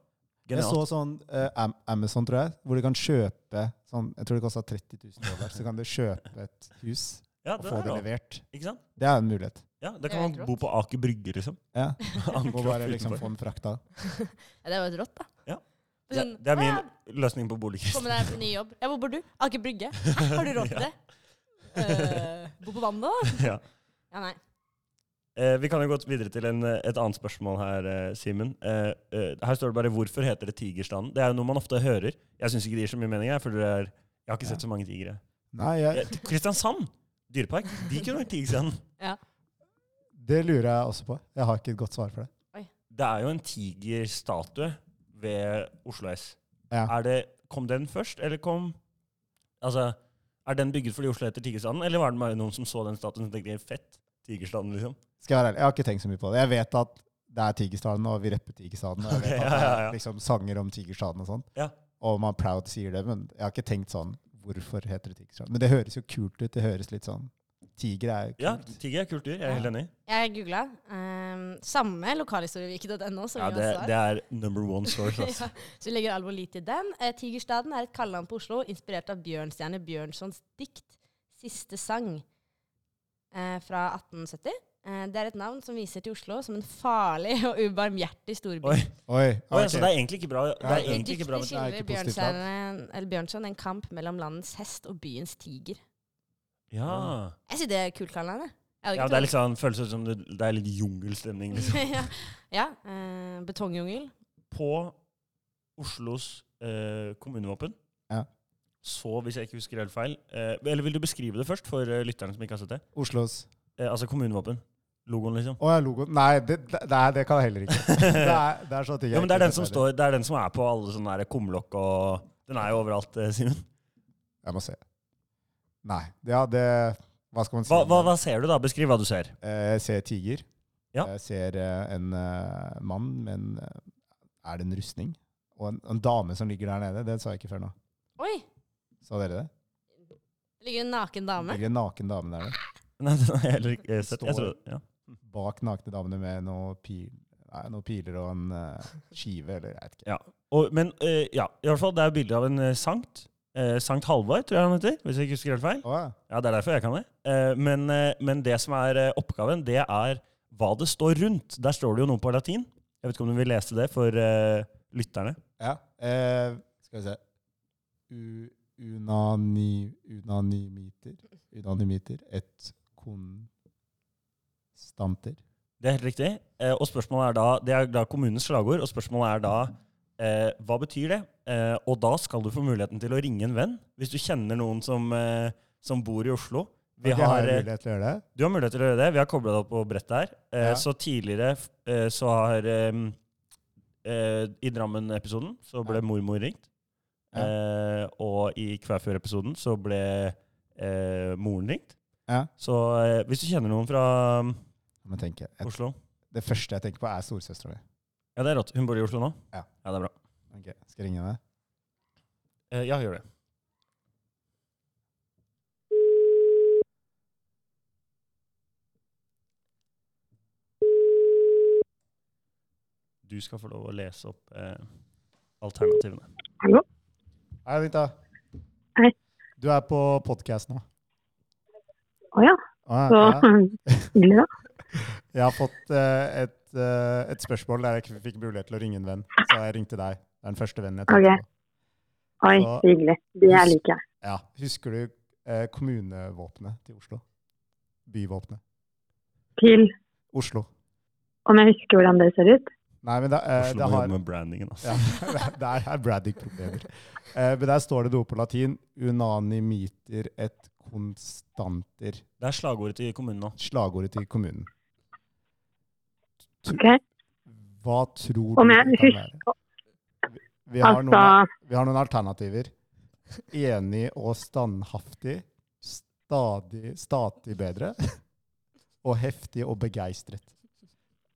[SPEAKER 3] Genialt.
[SPEAKER 2] Jeg så sånn eh, Am Amazon, tror jeg, hvor du kan kjøpe sånn, Jeg tror det kosta 30 000 dollar. Så kan du kjøpe et hus
[SPEAKER 3] ja,
[SPEAKER 2] og
[SPEAKER 3] det
[SPEAKER 2] få
[SPEAKER 3] er
[SPEAKER 2] det
[SPEAKER 3] lov.
[SPEAKER 2] levert.
[SPEAKER 3] Ikke sant?
[SPEAKER 2] Det er en mulighet.
[SPEAKER 3] Ja, Da
[SPEAKER 1] Det
[SPEAKER 3] kan
[SPEAKER 1] er
[SPEAKER 3] man
[SPEAKER 1] helt
[SPEAKER 3] bo på Aker Brygge, liksom.
[SPEAKER 1] [laughs]
[SPEAKER 3] [laughs]
[SPEAKER 2] Ja. Må
[SPEAKER 3] Ankre
[SPEAKER 2] bare
[SPEAKER 3] opp
[SPEAKER 2] liksom
[SPEAKER 3] utenfor.
[SPEAKER 2] få den frakta.
[SPEAKER 1] Ja, det var jo rått, da.
[SPEAKER 3] Ja. Det,
[SPEAKER 1] Sånn,
[SPEAKER 3] det er
[SPEAKER 1] «Å, ja,
[SPEAKER 3] min løsning på
[SPEAKER 1] Komme
[SPEAKER 3] boligkrisen.
[SPEAKER 1] deg på ny jobb. Ja, hvor bor du? Aker Brygge. Hæ, Har du råd
[SPEAKER 3] [laughs]
[SPEAKER 1] til det? Eh, bo på vannet, da?
[SPEAKER 3] ja.
[SPEAKER 1] Ja, nei.
[SPEAKER 3] eh, vi kan jo gå videre til en, eh, et annet spørsmål her, eh, Simen. Eh, eh, her står det bare 'Hvorfor heter det Tigerstanden?' Det er jo noe man ofte hører. Jeg syns ikke det gir så mye mening. Jeg, for det er, jeg har ikke
[SPEAKER 2] Ja.
[SPEAKER 3] sett så mange tigre.
[SPEAKER 2] Nei, jeg,
[SPEAKER 3] Eh, Kristiansand dyrepark, de kunne vært Tigerstanden.
[SPEAKER 2] det lurer jeg også på. Jeg har ikke et godt svar for det.
[SPEAKER 3] Det er jo en tigerstatue ved Oslo S.
[SPEAKER 2] Ja.
[SPEAKER 3] Er det, kom den først, eller kom Altså, er den bygget fordi Oslo heter Tigerstaden, eller var det bare noen som så den statuen og tenkte fett? Tigerstaden, liksom.
[SPEAKER 2] Skal jeg være ærlig, jeg har ikke tenkt så mye på det. Jeg vet at det er Tigerstaden, og vi rapper Tigerstaden. Og jeg vet
[SPEAKER 3] Ok,
[SPEAKER 2] at det
[SPEAKER 3] ja, ja, ja.
[SPEAKER 2] er liksom sanger om Tigerstaden og sånn.
[SPEAKER 3] Ja.
[SPEAKER 2] Og man proud sier det, men jeg har ikke tenkt sånn Hvorfor heter det Tigerstaden? Men det høres jo kult ut. Det høres litt sånn Tiger er jo
[SPEAKER 3] Ja,
[SPEAKER 2] kult.
[SPEAKER 3] tiger er kult dyr. Jeg er helt enig.
[SPEAKER 1] Jeg googla. eh, eh, samme lokalhistorieviken.no som
[SPEAKER 3] Ja,
[SPEAKER 1] vi
[SPEAKER 3] det,
[SPEAKER 1] har svar.
[SPEAKER 3] det er number one source.
[SPEAKER 1] [laughs]
[SPEAKER 3] Altså.
[SPEAKER 1] Ja, så vi legger all vår lit til den. Eh, Tigerstaden er et kallenavn på Oslo, inspirert av Bjørnstjerne Bjørnsons dikt 'Siste sang' eh, fra 1870. Eh, det er et navn som viser til Oslo som en farlig og ubarmhjertig storby.
[SPEAKER 3] Oi,
[SPEAKER 2] Oi,
[SPEAKER 3] oi,
[SPEAKER 2] ok.
[SPEAKER 3] så det er egentlig ikke bra. Det er egentlig ikke bra.
[SPEAKER 1] Diktet
[SPEAKER 3] med-
[SPEAKER 1] skildrer
[SPEAKER 2] det er ikke positivt lavt.
[SPEAKER 1] Bjørnstjerne- eller Bjørnson en kamp mellom landets hest og byens tiger.
[SPEAKER 3] Ja.
[SPEAKER 1] Jeg syns det er kult kallenavn. jeg. Jeg
[SPEAKER 3] ja,
[SPEAKER 1] hadde
[SPEAKER 3] det
[SPEAKER 1] ikke
[SPEAKER 3] er liksom, føles ut som det, det er litt jungelstemning, liksom.
[SPEAKER 1] trodd- [laughs] ja, ja eh, betongjungel.
[SPEAKER 3] på Oslos eh, kommunevåpen.
[SPEAKER 2] Ja.
[SPEAKER 3] Så, hvis jeg ikke husker helt feil eh, Eller vil du beskrive det først, for eh, lytterne som ikke har sett det?
[SPEAKER 2] Oslos
[SPEAKER 3] Eh, altså kommunevåpen. Logoen,
[SPEAKER 2] [laughs]
[SPEAKER 3] liksom.
[SPEAKER 2] Å ja, logoen. Nei, det, det, nei, det kan jeg heller ikke.
[SPEAKER 3] [laughs]
[SPEAKER 2] Det er, det er sånne ting jeg
[SPEAKER 3] Ja, men det
[SPEAKER 2] ikke
[SPEAKER 3] er den som
[SPEAKER 2] vet
[SPEAKER 3] står Det er den som er på alle sånne der kumlokk og Den er jo overalt, eh,
[SPEAKER 2] [laughs]
[SPEAKER 3] Simen.
[SPEAKER 2] heller. Jeg må se. Nei. Ja, det Hva skal man si?
[SPEAKER 3] Hva, hva, hva ser du, da? Beskriv hva du ser. [laughs]
[SPEAKER 2] Eh, Jeg ser tiger.
[SPEAKER 3] Ja.
[SPEAKER 2] Jeg ser eh, en eh, mann med en eh, Er det en rustning? Og en, en dame som ligger der nede. Det sa jeg ikke før nå.
[SPEAKER 1] Oi!
[SPEAKER 2] Sa dere det?
[SPEAKER 1] Det ligger en naken
[SPEAKER 2] Det
[SPEAKER 1] dame.
[SPEAKER 2] ligger en naken dame der nede.
[SPEAKER 3] Nei, den har jeg heller ikke eh, sett. Jeg tror,
[SPEAKER 2] Står-
[SPEAKER 3] ja.
[SPEAKER 2] Bak nakne damene med noe pil, nei, noen piler og en eh, skive, eller jeg vet ikke.
[SPEAKER 3] Og, men eh, ja, i hvert fall, det er bilde av en eh, sankt. Eh, sankt Halvard, tror jeg han heter. Hvis jeg ikke husker helt feil.
[SPEAKER 2] Å, ja.
[SPEAKER 3] Ja, det er derfor jeg kan det. Eh, Men, eh, men det som er eh, oppgaven, det er hva det står rundt. Der står det jo noe på latin. Jeg vet ikke om du vil lese det for eh, lytterne.
[SPEAKER 2] Ja. Eh, skal vi se U unani, Unanimiter Unanimiter. Et konstanter.
[SPEAKER 3] Det er helt riktig. Eh, Og spørsmålet er da, Det er da kommunens slagord, og spørsmålet er da eh, hva betyr det? Eh, og da skal du få muligheten til å ringe en venn, hvis du kjenner noen som, eh, som bor i Oslo. Vi
[SPEAKER 2] Ok,
[SPEAKER 3] har,
[SPEAKER 2] jeg
[SPEAKER 3] eh,
[SPEAKER 2] mulighet til å gjøre det.
[SPEAKER 3] Du har mulighet til å gjøre det. Vi har kobla det opp på brettet her. Eh,
[SPEAKER 2] Ja.
[SPEAKER 3] Så tidligere f- eh, så har eh, eh, I Drammen-episoden så ble
[SPEAKER 2] Ja.
[SPEAKER 3] mormor ringt.
[SPEAKER 2] Ja.
[SPEAKER 3] Eh, og i Kvæfjord-episoden så ble eh, moren ringt.
[SPEAKER 2] Ja.
[SPEAKER 3] Så eh, hvis du kjenner noen fra mm,
[SPEAKER 2] Jeg må tenke. Et,
[SPEAKER 3] Oslo
[SPEAKER 2] det første jeg tenker på, er storesøstera mi.
[SPEAKER 3] Ja, det er rått. Hun bor i Oslo nå?
[SPEAKER 2] Ja.
[SPEAKER 3] ja det er bra.
[SPEAKER 2] Ok, Skal jeg ringe henne?
[SPEAKER 3] Eh, ja, gjør det. Du skal få lov å lese opp eh, alternativene.
[SPEAKER 2] Eh,
[SPEAKER 5] Hallo?
[SPEAKER 2] Hei, Anita.
[SPEAKER 5] Hei.
[SPEAKER 2] Du er på podkast nå.
[SPEAKER 5] Å ja.
[SPEAKER 2] Ah,
[SPEAKER 5] Så
[SPEAKER 2] ja.
[SPEAKER 5] [laughs] hyggelig, da.
[SPEAKER 2] Jeg har fått eh, et, eh, et spørsmål der jeg ikke fikk mulighet til å ringe en venn, så jeg ringte deg. Det er den første vennen jeg tenkte
[SPEAKER 5] Ok.
[SPEAKER 2] på.
[SPEAKER 5] Oi,
[SPEAKER 2] Så-
[SPEAKER 5] så hyggelig. Det
[SPEAKER 2] Husk-
[SPEAKER 5] liker jeg.
[SPEAKER 2] Ja. Husker du eh, kommunevåpenet til Oslo? Byvåpenet.
[SPEAKER 5] Til
[SPEAKER 2] Oslo.
[SPEAKER 5] om jeg husker hvordan det ser ut.
[SPEAKER 2] Nei, men det, eh,
[SPEAKER 3] Oslo
[SPEAKER 2] det
[SPEAKER 3] må
[SPEAKER 2] har
[SPEAKER 3] jobbe med brandingen. Altså.
[SPEAKER 2] ja, [laughs] Der er Braddick-problemer. Eh, men der står det noe på latin. Unanimiter et constanter.
[SPEAKER 3] Det er slagordet til kommunen nå.
[SPEAKER 2] Slagordet til kommunen.
[SPEAKER 5] ok?
[SPEAKER 2] Hva tror
[SPEAKER 5] Om
[SPEAKER 2] du
[SPEAKER 5] jeg
[SPEAKER 2] det kan være? Vi- Vi har,
[SPEAKER 5] Altså
[SPEAKER 2] noen, vi har noen alternativer. Enig og standhaftig. Stadig, stadig bedre. Og heftig og begeistret.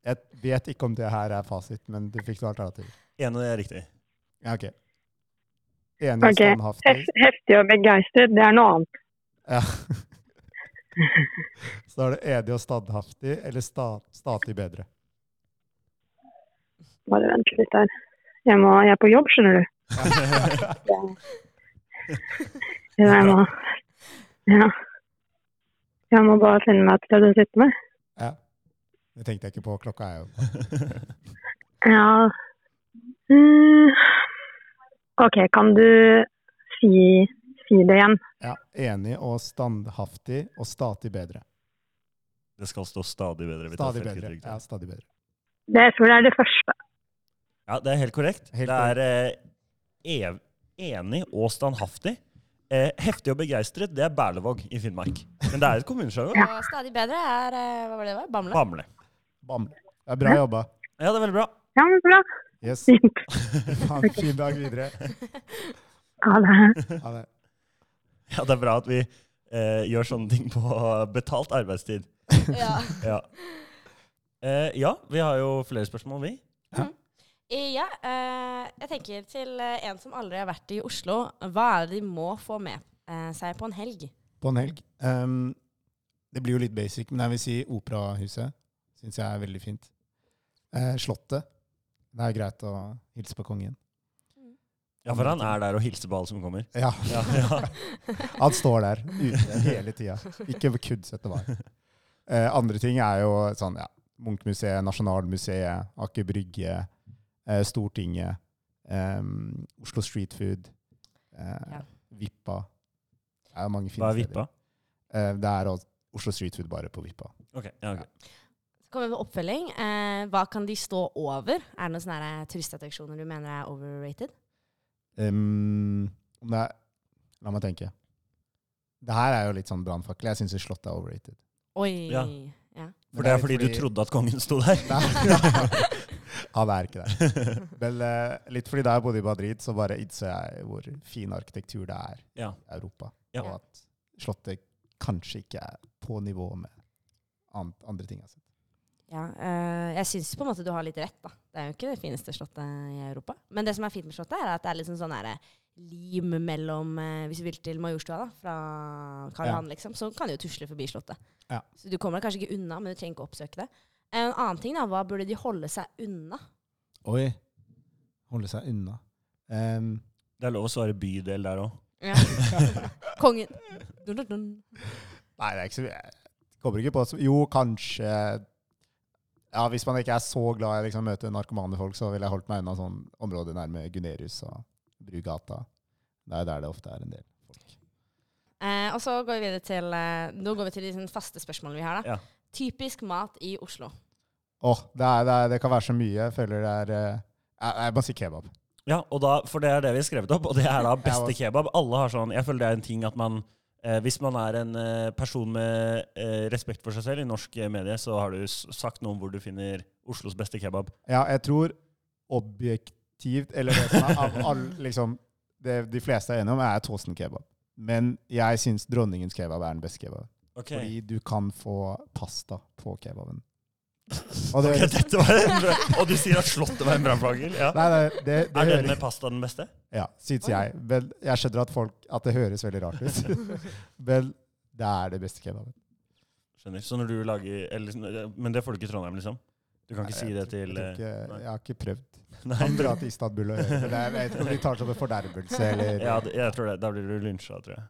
[SPEAKER 2] Jeg vet ikke om det her er fasit, men du fikk noen alternativer.
[SPEAKER 3] Ene er [laughs] riktig.
[SPEAKER 2] Ja, ok. Enig og
[SPEAKER 5] Ok.
[SPEAKER 2] standhaftig.
[SPEAKER 5] hef- Heftig og begeistret, det er noe annet.
[SPEAKER 2] Ja. Så er det enig og standhaftig, eller sta, stadig bedre.
[SPEAKER 5] Bare vent litt der. Jeg, må, jeg er på jobb, skjønner
[SPEAKER 2] [laughs]
[SPEAKER 5] du. Så Jeg må, ja. jeg må bare finne meg et sted å sitte med.
[SPEAKER 2] Ja. Det tenkte jeg ikke på. Klokka er jo
[SPEAKER 5] Ja. Mm. Ok, kan du si, si det igjen?
[SPEAKER 2] ja. Enig og standhaftig og stadig bedre.
[SPEAKER 3] Det skal stå stadig bedre. Vi tar
[SPEAKER 2] Stadig
[SPEAKER 3] selvkritikk
[SPEAKER 2] bedre.
[SPEAKER 3] der.
[SPEAKER 2] Ja, stadig bedre.
[SPEAKER 5] Det, jeg tror det er det første.
[SPEAKER 3] Ja, det er helt korrekt.
[SPEAKER 2] Helt
[SPEAKER 3] det er eh, ev, enig og standhaftig. Eh, heftig og begeistret, det er Berlevåg i Finnmark. Men det er et kommuneslagord.
[SPEAKER 1] Og stadig bedre er eh, Hva var det det var? Bamble?
[SPEAKER 3] Bamble.
[SPEAKER 2] Bamble. Det er bra jobba.
[SPEAKER 3] Ja, det er veldig bra.
[SPEAKER 5] Ja, men bra.
[SPEAKER 2] Yes.
[SPEAKER 5] Fint.
[SPEAKER 2] Ha en fin dag videre.
[SPEAKER 5] Ja, det er.
[SPEAKER 2] Ha det.
[SPEAKER 3] Ja, det er bra at vi eh, gjør sånne ting på betalt arbeidstid.
[SPEAKER 1] Ja.
[SPEAKER 3] Ja. Eh, ja, vi har jo flere spørsmål, vi.
[SPEAKER 1] Eh, Ja, eh, jeg tenker til eh, en som aldri har vært i Oslo. Hva er det de må få med eh, seg på en helg?
[SPEAKER 2] På en helg. Ehm, det blir jo litt basic, men jeg vil si Operahuset. Syns jeg er veldig fint. Eh, slottet. Det er greit å hilse på kongen.
[SPEAKER 3] Ja, for han er der og hilser på alle som kommer.
[SPEAKER 2] Ja, [laughs]
[SPEAKER 3] Ja, ja.
[SPEAKER 1] [laughs]
[SPEAKER 2] Han står der ute hele tida. Ikke kuddsette var. Eh, andre ting er jo sånn ja, Munchmuseet, Nasjonalmuseet, Aker Brygge, eh, Stortinget, em, Oslo Street Food, eh,
[SPEAKER 1] Ja.
[SPEAKER 2] Vippa. Det er jo mange fine
[SPEAKER 3] Hva er vippa?
[SPEAKER 2] steder. Eh, det er også Oslo Street Food bare på Vippa.
[SPEAKER 3] Ok, ja, ok.
[SPEAKER 1] Så kommer vi med oppfølging. Eh, hva kan de stå over? Er det noen sånne her eh, turistattraksjoner du mener er overrated?
[SPEAKER 2] Em, Ehm, om det er, la meg tenke. Det her er jo litt sånn brannfakkel. Jeg syns Slottet er overrated.
[SPEAKER 1] Oi. [laughs]
[SPEAKER 3] Ja.
[SPEAKER 1] Ja.
[SPEAKER 3] For det er fordi du trodde at kongen sto der?
[SPEAKER 2] Nei. Han er ikke der. [laughs] Vel, eh, litt fordi da jeg bodde i Madrid, så bare innså jeg hvor fin arkitektur det er
[SPEAKER 3] Ja.
[SPEAKER 2] i Europa.
[SPEAKER 3] Ja.
[SPEAKER 2] Og at Slottet kanskje ikke er på nivå med an- andre ting jeg har sett.
[SPEAKER 1] Ja, eh, jeg syns på en måte du har litt rett, da. Det er jo ikke det fineste slottet i Europa. Men det som er fint med slottet, er at det er liksom sånn herre lim mellom eh, Hvis du vil til Majorstua, da, fra Karl
[SPEAKER 2] Ja.
[SPEAKER 1] Johan, liksom, så kan du jo tusle forbi slottet.
[SPEAKER 2] Ja.
[SPEAKER 1] Så du kommer deg kanskje ikke unna, men du trenger ikke oppsøke det. Eh, En annen ting, da, hva burde de holde seg unna?
[SPEAKER 2] Oi. Holde seg unna. [laughs] Em,
[SPEAKER 3] Det er lov å svare bydel der òg.
[SPEAKER 1] Kongen. [laughs] Dun, dun, dun.
[SPEAKER 2] nei, det er ikke så Jeg kommer ikke på så- Jo, kanskje ja, Hvis man ikke er så glad i å liksom, møte narkomane folk, så ville jeg holdt meg unna sånn områder nærme Gunerius og Brugata. Det er der det ofte er en del folk.
[SPEAKER 1] Eh, og så går vi videre til eh, Nå går vi til de sånn faste spørsmålene vi har. da.
[SPEAKER 3] Ja.
[SPEAKER 1] Typisk mat i Oslo.
[SPEAKER 2] Åh, det, er, det, er, det kan være så mye. Jeg føler det er eh, Jeg, jeg må si kebab.
[SPEAKER 3] Ja, og da, for det er det vi har skrevet opp, og det er da beste
[SPEAKER 2] Ja,
[SPEAKER 3] kebab. Alle har sånn, Jeg føler det er en ting at man eh, Hvis man er en eh, person med eh, respekt for seg selv i norsk eh, medie, så har du s sagt noe om hvor du finner Oslos beste kebab.
[SPEAKER 2] Ja, jeg tror objektivt, eller det som er av all, [laughs] liksom, det de fleste er enige om, er Tåsen kebab. Men jeg syns dronningens kebab er den beste kebaben.
[SPEAKER 3] Ok,
[SPEAKER 2] Fordi du kan få pasta på
[SPEAKER 3] [laughs]
[SPEAKER 2] kebaben. Og det,
[SPEAKER 3] dette var en bra. Og du sier at Slottet var en brannfakkel? Ja.
[SPEAKER 2] nei, nei, det, det
[SPEAKER 3] Er den
[SPEAKER 2] høres
[SPEAKER 3] med pasta den
[SPEAKER 2] [laughs]
[SPEAKER 3] beste?
[SPEAKER 2] Ja, syns jeg. Men jeg skjønner at, folk, at det høres veldig rart
[SPEAKER 3] [laughs]
[SPEAKER 2] ut. Men det er det beste kebaben.
[SPEAKER 3] Skjønner. Så når du lager eller, Men det får du ikke i Trondheim, liksom? Du kan
[SPEAKER 2] Nei,
[SPEAKER 3] ikke si
[SPEAKER 2] jeg
[SPEAKER 3] det
[SPEAKER 2] tror-
[SPEAKER 3] til
[SPEAKER 2] Jeg, tror
[SPEAKER 3] eh,
[SPEAKER 2] ikke,
[SPEAKER 3] nei.
[SPEAKER 2] jeg har ikke prøvd.
[SPEAKER 3] Nei.
[SPEAKER 2] kan dra til Istanbul og høre. Men jeg vet ikke om de tar sånne fordervelse eller
[SPEAKER 3] [laughs] Ja, det- jeg tror det. Da blir du lynsja, tror jeg.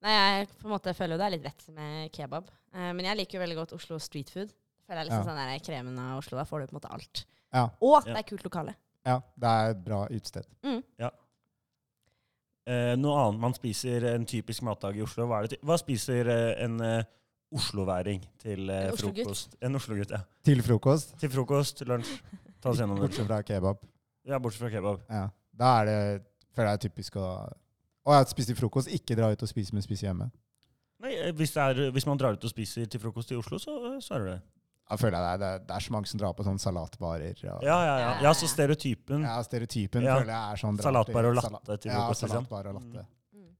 [SPEAKER 1] Nei, jeg på en måte føler jo det er litt rett med kebab. Eh, men jeg liker jo veldig godt Oslo street food. Føler jeg liksom
[SPEAKER 2] Ja.
[SPEAKER 1] sånn der kremen av Oslo. Da får du på en måte alt.
[SPEAKER 2] Ja,
[SPEAKER 1] Og
[SPEAKER 3] Ja.
[SPEAKER 1] det er kult lokale.
[SPEAKER 2] ja, det er et bra utested.
[SPEAKER 3] Eh, noe annet man spiser en typisk matdag i Oslo. Hva, er det til? Hva spiser eh, en eh, osloværing til eh,
[SPEAKER 1] En Oslo-gutt.
[SPEAKER 3] frokost? En oslogutt. ja.
[SPEAKER 2] Til frokost,
[SPEAKER 3] Til frokost, lunsj. Ta oss
[SPEAKER 2] [laughs]
[SPEAKER 3] gjennom det.
[SPEAKER 2] bortsett fra kebab.
[SPEAKER 3] Ja, bortsett fra kebab.
[SPEAKER 2] Ja. Da er det, føler jeg, typisk å Å, jeg spiste frokost, ikke dra ut og spise, men spise hjemme.
[SPEAKER 3] Nei, eh, hvis, det er, hvis man drar ut og spiser til frokost i Oslo, så, eh, så er det det.
[SPEAKER 2] Da føler jeg det, er- det, er- det er så mange som drar på sånne salatbarer. Og,
[SPEAKER 3] Ja, ja, ja. ja så stereotypen.
[SPEAKER 2] Ja, stereotypen
[SPEAKER 3] Ja.
[SPEAKER 2] føler jeg er sånn drar til
[SPEAKER 3] Salatbar og
[SPEAKER 2] salat-
[SPEAKER 3] latte til
[SPEAKER 2] Ja,
[SPEAKER 3] frokost. liksom.
[SPEAKER 2] salatbar og latte.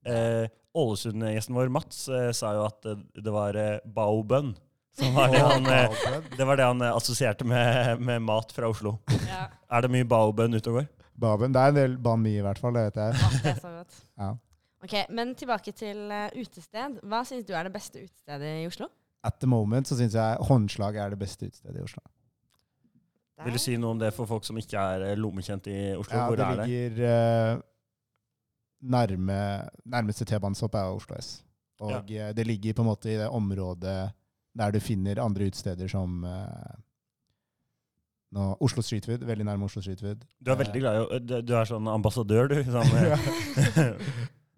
[SPEAKER 3] Eh, Ålesund-gjesten vår, Mats, eh, sa jo at eh, det var eh, baobønn. Som var det
[SPEAKER 2] Og
[SPEAKER 3] han, eh,
[SPEAKER 2] baobønn.
[SPEAKER 3] det var det han eh, assosierte med, med mat fra Oslo.
[SPEAKER 1] Ja.
[SPEAKER 3] [laughs] Er det mye baobønn ute og går?
[SPEAKER 2] Baobønn. Det er en del banh mi, i hvert fall. Det vet jeg.
[SPEAKER 1] det er så godt.
[SPEAKER 2] Ja.
[SPEAKER 1] Ok, Men tilbake til eh, utested. Hva syns du er det beste utestedet i Oslo?
[SPEAKER 2] At the moment så syns jeg håndslag er det beste utestedet i Oslo.
[SPEAKER 1] Der.
[SPEAKER 3] Vil du si noe om det for folk som ikke er eh, lommekjent i Oslo?
[SPEAKER 2] Ja,
[SPEAKER 3] Hvor
[SPEAKER 2] det
[SPEAKER 3] er det?
[SPEAKER 2] ligger eh, nærme, Nærmeste T-banestopp er Oslo S. Og eh, det ligger på en måte i det området der du finner andre utesteder som eh, nå, Oslo Street Food, veldig nærme Oslo Street Food.
[SPEAKER 3] Du er veldig glad i å du- Du er sånn ambassadør, du.
[SPEAKER 2] [laughs]
[SPEAKER 3] Sånn, eh,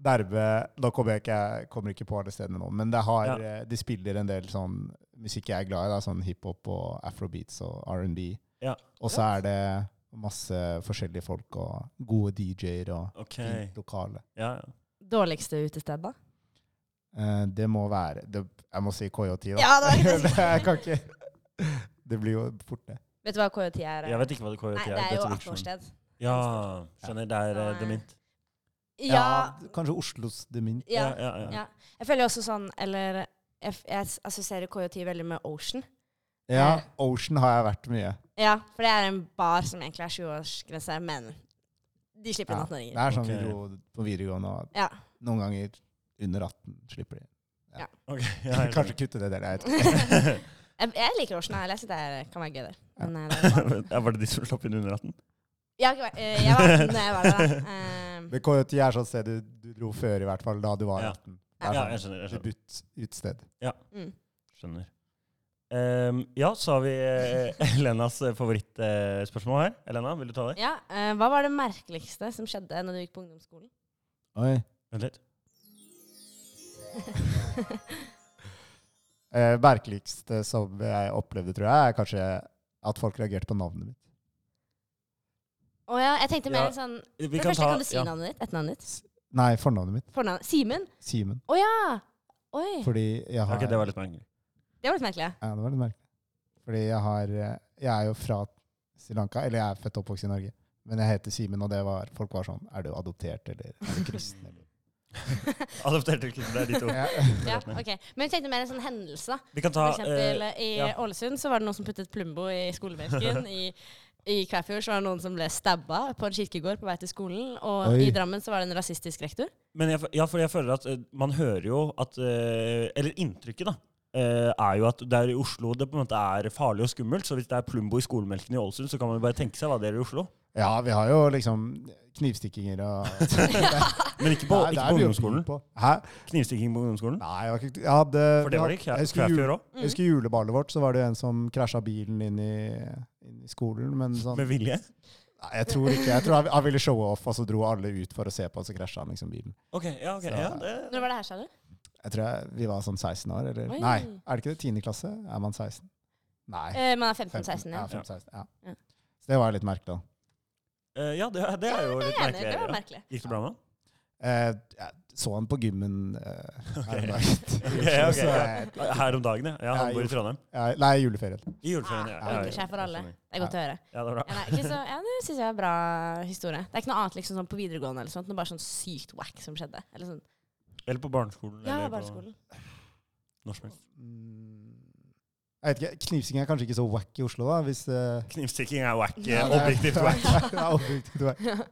[SPEAKER 2] Derve Nå kommer jeg ikke, jeg kommer ikke på alle stedene nå, men det har,
[SPEAKER 3] Ja.
[SPEAKER 2] eh, de spiller en del sånn musikk jeg er glad i, da, sånn hiphop og afrobeats og R&B.
[SPEAKER 3] Ja.
[SPEAKER 2] Og så er det masse forskjellige folk og gode DJ-er og
[SPEAKER 3] [laughs] ok.
[SPEAKER 2] fint lokale.
[SPEAKER 3] Ja, ja.
[SPEAKER 1] [laughs] Dårligste utested, da?
[SPEAKER 2] Eh, det må være det, Jeg må si KJT, da.
[SPEAKER 1] Ja, det
[SPEAKER 2] [laughs]
[SPEAKER 1] var ikke det.
[SPEAKER 2] det jeg kan ikke Det blir jo fort, det.
[SPEAKER 1] Vet du hva KJT er?
[SPEAKER 3] Jeg vet ikke hva det KJT
[SPEAKER 1] Nei, det er jo 18-årssted.
[SPEAKER 3] Ja, skjønner. Det er eh, dement.
[SPEAKER 1] Ja,
[SPEAKER 2] Kanskje Oslos demint.
[SPEAKER 1] ja,
[SPEAKER 3] Ja, ja, ja.
[SPEAKER 1] ja. Jeg føler jo også sånn Eller jeg, f- jeg assosierer KJT veldig med Ocean.
[SPEAKER 2] Ja,
[SPEAKER 1] Eh.
[SPEAKER 2] Ocean har jeg vært mye.
[SPEAKER 1] Ja, for det er en bar som egentlig er 20-årsgrense, men de slipper
[SPEAKER 2] Ja.
[SPEAKER 1] inn 18-åringer.
[SPEAKER 2] Det er sånn vi
[SPEAKER 3] Ok.
[SPEAKER 2] dro på videregående, og
[SPEAKER 3] [laughs]
[SPEAKER 1] Ja.
[SPEAKER 2] noen ganger under 18 slipper de.
[SPEAKER 3] Ok, ja, jeg skjønner.
[SPEAKER 2] [laughs] Kanskje kutte det der. Jeg vet ikke.
[SPEAKER 1] Eh, Jeg, jeg liker Ocean Isle. Jeg syns det kan være gøy der. Men, eh, det var-
[SPEAKER 3] [laughs] Ja, var det de som slapp inn under hatten?
[SPEAKER 1] jeg, har ikke vært- eh, jeg var [laughs] 18 da jeg var der, da. Eh,
[SPEAKER 2] Det kan jo ikke være sånn sted du, du dro før, i hvert fall, da du var
[SPEAKER 3] Ja.
[SPEAKER 2] 18. Det
[SPEAKER 3] Ja,
[SPEAKER 2] er
[SPEAKER 3] jeg skjønner. jeg
[SPEAKER 2] sånn
[SPEAKER 3] skjønner.
[SPEAKER 2] debut utsted.
[SPEAKER 1] mm.
[SPEAKER 3] skjønner. Ehm, ja, så har vi eh, [laughs] Elenas favorittspørsmål her. Elena, vil du ta det?
[SPEAKER 1] Ja, eh, Hva var det merkeligste som skjedde når du gikk på ungdomsskolen? [laughs]
[SPEAKER 2] Oi.
[SPEAKER 3] Vent litt.
[SPEAKER 2] Eh, merkeligste som jeg opplevde, tror jeg, er kanskje at folk reagerte på navnet mitt.
[SPEAKER 1] Å ja, jeg tenkte mer
[SPEAKER 3] Ja,
[SPEAKER 1] sånn
[SPEAKER 3] Vi
[SPEAKER 1] For det første, kan du si
[SPEAKER 3] ja.
[SPEAKER 1] navnet ditt? Etternavnet ditt?
[SPEAKER 2] Nei, fornavnet mitt.
[SPEAKER 1] Fornavnet? Simen?
[SPEAKER 2] Simen.
[SPEAKER 1] Å ja! Oi.
[SPEAKER 2] Fordi jeg har
[SPEAKER 3] Ok, det var litt merkelig.
[SPEAKER 1] Det var litt merkelig.
[SPEAKER 2] Ja, det var litt merkelig. Fordi jeg har eh, Jeg er jo fra Sri Lanka, eller jeg er født og oppvokst i Norge. Men jeg heter Simen, og det var, folk var sånn Er du adoptert, eller er du kristen?
[SPEAKER 3] [laughs]
[SPEAKER 2] Eller?
[SPEAKER 3] Adopterte kristne, det er de to.
[SPEAKER 1] Ja, ok. Men jeg tenkte mer en sånn hendelse. da.
[SPEAKER 3] Vi kan ta
[SPEAKER 1] For eksempel
[SPEAKER 3] eh,
[SPEAKER 1] eh, i
[SPEAKER 3] ja.
[SPEAKER 1] Ålesund så var det noen som puttet Plumbo i
[SPEAKER 3] [laughs]
[SPEAKER 1] skolebenken. I, i Kvæfjord så var det noen som ble stabba på en kirkegård på vei til skolen. Og
[SPEAKER 2] Oi.
[SPEAKER 1] i Drammen så var det en rasistisk rektor.
[SPEAKER 3] Men jeg, ja, for jeg føler at eh, man hører jo at eh, Eller inntrykket, da. eh, er jo at det er i Oslo det på en måte er farlig og skummelt. Så hvis det er Plumbo i skolemelken i Ålesund, så kan man jo bare tenke seg hva det er i Oslo.
[SPEAKER 2] Ja, vi har jo liksom knivstikkinger og
[SPEAKER 3] Men [laughs] ikke på,
[SPEAKER 2] Nei, det er
[SPEAKER 3] ikke på
[SPEAKER 2] vi jo
[SPEAKER 3] ungdomsskolen.
[SPEAKER 2] på. Hæ?
[SPEAKER 3] Knivstikking på ungdomsskolen.
[SPEAKER 2] Nei, jeg, var ikke- jeg hadde
[SPEAKER 3] For det var det ikke.
[SPEAKER 2] jeg
[SPEAKER 3] Jeg,
[SPEAKER 2] husker, jul,
[SPEAKER 3] jeg òg.
[SPEAKER 2] jeg husker juleballet vårt, så var det jo en som krasja bilen inn i, inn i skolen. Men sånn
[SPEAKER 3] Med vilje.
[SPEAKER 2] Nei, jeg tror ikke. Jeg tror han- han ville showe off, og så dro alle ut for å se på, og så krasja han liksom bilen.
[SPEAKER 3] Ok, ja, ok.
[SPEAKER 2] Så-
[SPEAKER 3] Ja, det, eh,
[SPEAKER 1] Når var det her, sa du?
[SPEAKER 2] Jeg tror jeg, vi var sånn 16 år, eller
[SPEAKER 1] Oi.
[SPEAKER 2] Nei, er det ikke det? 10. klasse? Er man 16? Nei.
[SPEAKER 1] Eh, man er
[SPEAKER 2] 15,
[SPEAKER 1] 15-16, ja.
[SPEAKER 2] ja. 15, 16,
[SPEAKER 1] Ja.
[SPEAKER 2] ja. Så det var litt merkelig, da.
[SPEAKER 3] eh, ja, det, det er jo
[SPEAKER 1] Jeg
[SPEAKER 3] litt
[SPEAKER 1] er enig,
[SPEAKER 3] merkelig.
[SPEAKER 1] det var
[SPEAKER 3] ja.
[SPEAKER 1] merkelig.
[SPEAKER 3] Gikk det bra med han?
[SPEAKER 2] Eh, jeg så han på gymmen eh,
[SPEAKER 3] [laughs]
[SPEAKER 2] her om dagen.
[SPEAKER 3] Ja, ok,
[SPEAKER 2] Så jeg-
[SPEAKER 3] ja. Her om dagen, ja. ja han
[SPEAKER 2] Ja, jo.
[SPEAKER 3] bor i Trondheim.
[SPEAKER 2] jeg- Nei, juleferien.
[SPEAKER 3] I juleferien, ja.
[SPEAKER 1] Ah,
[SPEAKER 3] ja,
[SPEAKER 1] Ordner
[SPEAKER 3] ja.
[SPEAKER 1] seg for alle. Det er godt å høre.
[SPEAKER 3] Ja, det
[SPEAKER 1] Ja,
[SPEAKER 3] er bra.
[SPEAKER 1] nei, ikke så, ja, det syns jeg var en bra historie. Det er ikke noe annet liksom, sånn på videregående eller sånt. Noe bare sånn sykt wack som skjedde. Eller sånn.
[SPEAKER 3] Eller på barneskolen.
[SPEAKER 1] Ja,
[SPEAKER 3] eller på
[SPEAKER 1] barneskolen.
[SPEAKER 3] når som helst.
[SPEAKER 2] Mm, Jeg vet ikke, Knivsing er kanskje ikke så wack i Oslo, da. Hvis, eh,
[SPEAKER 3] Knivstikking er wack.
[SPEAKER 2] ja, det er-
[SPEAKER 3] Objektivt wack.
[SPEAKER 2] [laughs] Det er objektivt
[SPEAKER 1] [laughs]
[SPEAKER 2] wack.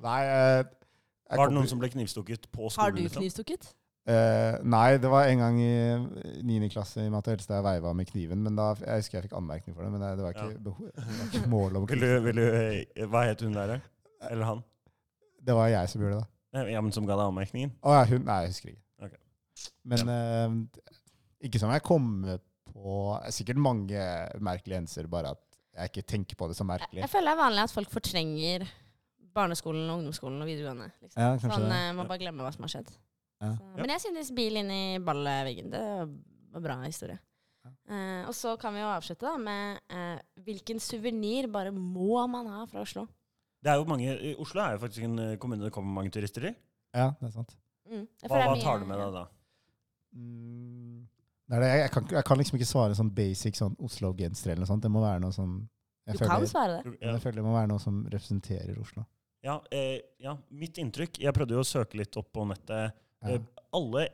[SPEAKER 2] Nei eh, jeg
[SPEAKER 3] Var det
[SPEAKER 2] kommer-
[SPEAKER 3] noen som ble knivstukket på
[SPEAKER 1] Har du
[SPEAKER 3] skolen? liksom?
[SPEAKER 1] knivstukket?
[SPEAKER 2] Eh, nei, det var en gang i 9. klasse i Matte Helstad jeg veiva med kniven. Men da, Jeg husker jeg fikk anmerkning for det, men det, det var ikke,
[SPEAKER 3] Ja.
[SPEAKER 2] behov, det
[SPEAKER 3] [laughs]
[SPEAKER 2] var ikke mål om
[SPEAKER 3] Vil du, vil du, eh, hva het hun der? eh? Eller han?
[SPEAKER 2] Det var jeg som gjorde det, da.
[SPEAKER 3] Eh, Ja, men Som ga deg anmerkningen?
[SPEAKER 2] Å ja, hun Nei, jeg husker ikke.
[SPEAKER 3] Ok.
[SPEAKER 2] Men eh, ikke som jeg kommer på det er Sikkert mange merkelige hendelser, bare at jeg ikke tenker på det som
[SPEAKER 1] Jeg,
[SPEAKER 2] merkelig.
[SPEAKER 1] jeg føler det er vanlig at folk fortrenger barneskolen, og ungdomsskolen og videregående. Liksom.
[SPEAKER 2] Ja, kanskje
[SPEAKER 1] sånn,
[SPEAKER 2] det.
[SPEAKER 1] eh, man bare glemmer hva som har skjedd.
[SPEAKER 2] Ja.
[SPEAKER 1] Så, men jeg synes bil inn i ballveggen, det var bra historie. Eh, og så kan vi jo avslutte da med eh, hvilken suvenir bare må man ha fra Oslo?
[SPEAKER 3] Det er jo mange, eh, Oslo er jo faktisk en eh, kommune det kommer mange turister i.
[SPEAKER 1] eh,
[SPEAKER 2] Ja, det er sant.
[SPEAKER 1] Mm. Jeg
[SPEAKER 3] Hva,
[SPEAKER 1] føler
[SPEAKER 3] hva
[SPEAKER 1] det er
[SPEAKER 3] tar du
[SPEAKER 1] mye-
[SPEAKER 3] med deg da?
[SPEAKER 2] Mm, det er det. Jeg, jeg, kan, ikke- jeg kan liksom ikke svare sånn basic sånn Oslo-genser eller noe sånt. Det må være noe som jeg
[SPEAKER 1] Du kan
[SPEAKER 2] føler,
[SPEAKER 1] svare det.
[SPEAKER 3] Du-
[SPEAKER 2] men
[SPEAKER 3] Ja,
[SPEAKER 2] jeg føler det må være noe som representerer Oslo.
[SPEAKER 3] ja, eh, ja, mitt inntrykk Jeg prøvde jo å søke litt opp på nettet.
[SPEAKER 2] Ja.
[SPEAKER 3] Eh, Alle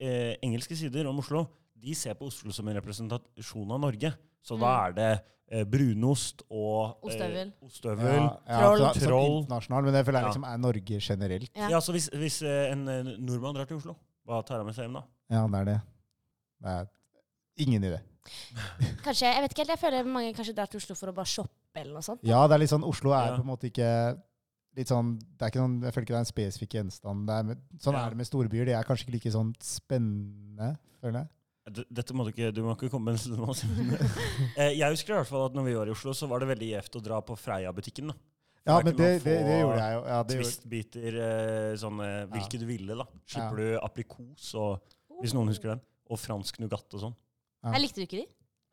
[SPEAKER 3] eh, engelske sider om Oslo de ser på Oslo som en representasjon av Norge. Så da
[SPEAKER 1] Mm.
[SPEAKER 3] er det eh, brunost og
[SPEAKER 1] Ostehøvel.
[SPEAKER 3] Eh, ostehøvel.
[SPEAKER 1] Troll.
[SPEAKER 2] så- sånn
[SPEAKER 3] Troll.
[SPEAKER 2] internasjonal, men det føler jeg
[SPEAKER 3] Ja.
[SPEAKER 2] liksom er Norge generelt.
[SPEAKER 1] Ja.
[SPEAKER 3] Ja, så hvis, hvis eh, en eh, nordmann drar til Oslo, hva tar han med seg hjem da?
[SPEAKER 2] Ja, det er det. Det er ingen idé.
[SPEAKER 1] Kanskje, jeg vet ikke helt, jeg føler mange kanskje drar til Oslo for å bare shoppe eller noe sånt.
[SPEAKER 2] Ja, det er litt sånn Oslo er
[SPEAKER 3] Ja.
[SPEAKER 2] på en måte ikke litt sånn, det er ikke noen, Jeg føler ikke det er en spesifikk gjenstand. Det er med, sånn
[SPEAKER 3] Ja.
[SPEAKER 2] er det med storbyer. De er kanskje ikke like sånn spennende, føler jeg.
[SPEAKER 3] D- Dette må du ikke, du må ikke komme med
[SPEAKER 1] [laughs]
[SPEAKER 3] en sånn Eh, Jeg husker i hvert fall at når vi var i Oslo, så var det veldig gjevt å dra på Freia-butikken. da.
[SPEAKER 2] Ja,
[SPEAKER 3] Det er
[SPEAKER 2] men det,
[SPEAKER 3] ikke noe
[SPEAKER 2] det,
[SPEAKER 3] å få
[SPEAKER 2] det gjorde jeg jo. Ja, det gjorde,
[SPEAKER 3] Twistbiter, eh, sånn eh, hvilke du ville. da. Slipper du aprikos og hvis noen husker den, og fransk nougat og sånn.
[SPEAKER 2] Ja.
[SPEAKER 1] Jeg likte du ikke de?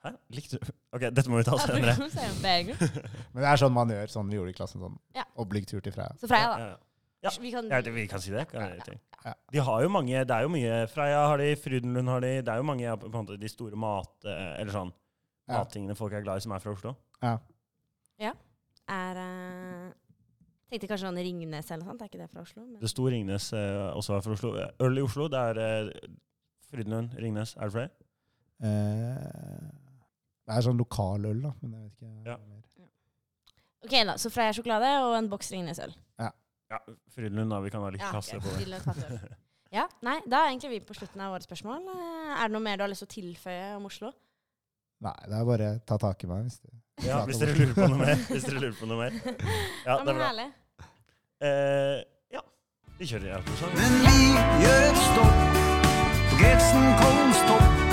[SPEAKER 3] Hæ? Likte du? [laughs] Ok, dette må vi ta
[SPEAKER 1] Ja, [laughs]
[SPEAKER 3] senere.
[SPEAKER 1] for å se en bedre.
[SPEAKER 2] men det er sånn man gjør, sånn vi gjorde i klassen. sånn
[SPEAKER 1] Ja.
[SPEAKER 2] Obligtur til Freia.
[SPEAKER 1] Så Freia,
[SPEAKER 3] [laughs] Ja,
[SPEAKER 1] da.
[SPEAKER 3] ja, ja. Ja.
[SPEAKER 1] Vi kan,
[SPEAKER 3] Ja, det, vi kan si det. Kan jeg tenke.
[SPEAKER 2] Ja.
[SPEAKER 3] De har jo mange, Det er jo mye Freia har de, Frydenlund har de. Det er jo mange ja, på en måte, de store mat, eh, eller sånn,
[SPEAKER 2] Ja.
[SPEAKER 3] mattingene folk er glad i, som er fra Oslo.
[SPEAKER 1] er eh, Tenkte kanskje noen Ringnes eller noe sånt. Er ikke det fra Oslo? Men,
[SPEAKER 3] Det sto Ringnes eh, også er fra Oslo. Øl i Oslo, det er eh, Frydenlund, Ringnes. Er det flere?
[SPEAKER 2] Eh, det er sånn lokal øl, da. Men jeg vet ikke
[SPEAKER 3] Ja.
[SPEAKER 2] mer.
[SPEAKER 1] ok, da. Så Freia sjokolade og en boks Ringnes-øl.
[SPEAKER 3] Ja, Frydenlund, da. Vi kan være litt kasse
[SPEAKER 1] ok,
[SPEAKER 3] på det.
[SPEAKER 1] til et fattigøl. [laughs] ja, nei, da er egentlig vi på slutten av våre spørsmål. Eh, Er det noe mer du har lyst til å tilføye om Oslo?
[SPEAKER 2] Nei, det er bare ta tak i meg. Hvis det.
[SPEAKER 3] Ja, hvis dere
[SPEAKER 2] [laughs]
[SPEAKER 3] lurer på noe mer. Hvis dere lurer på
[SPEAKER 1] [laughs]
[SPEAKER 3] noe mer. Ja,
[SPEAKER 1] Ja,
[SPEAKER 3] det er
[SPEAKER 1] men
[SPEAKER 3] bra.
[SPEAKER 1] herlig.
[SPEAKER 3] Eh, ja, vi kjører i autosang.
[SPEAKER 4] Men vi gjør et stopp på Grefsen Kollen stopp.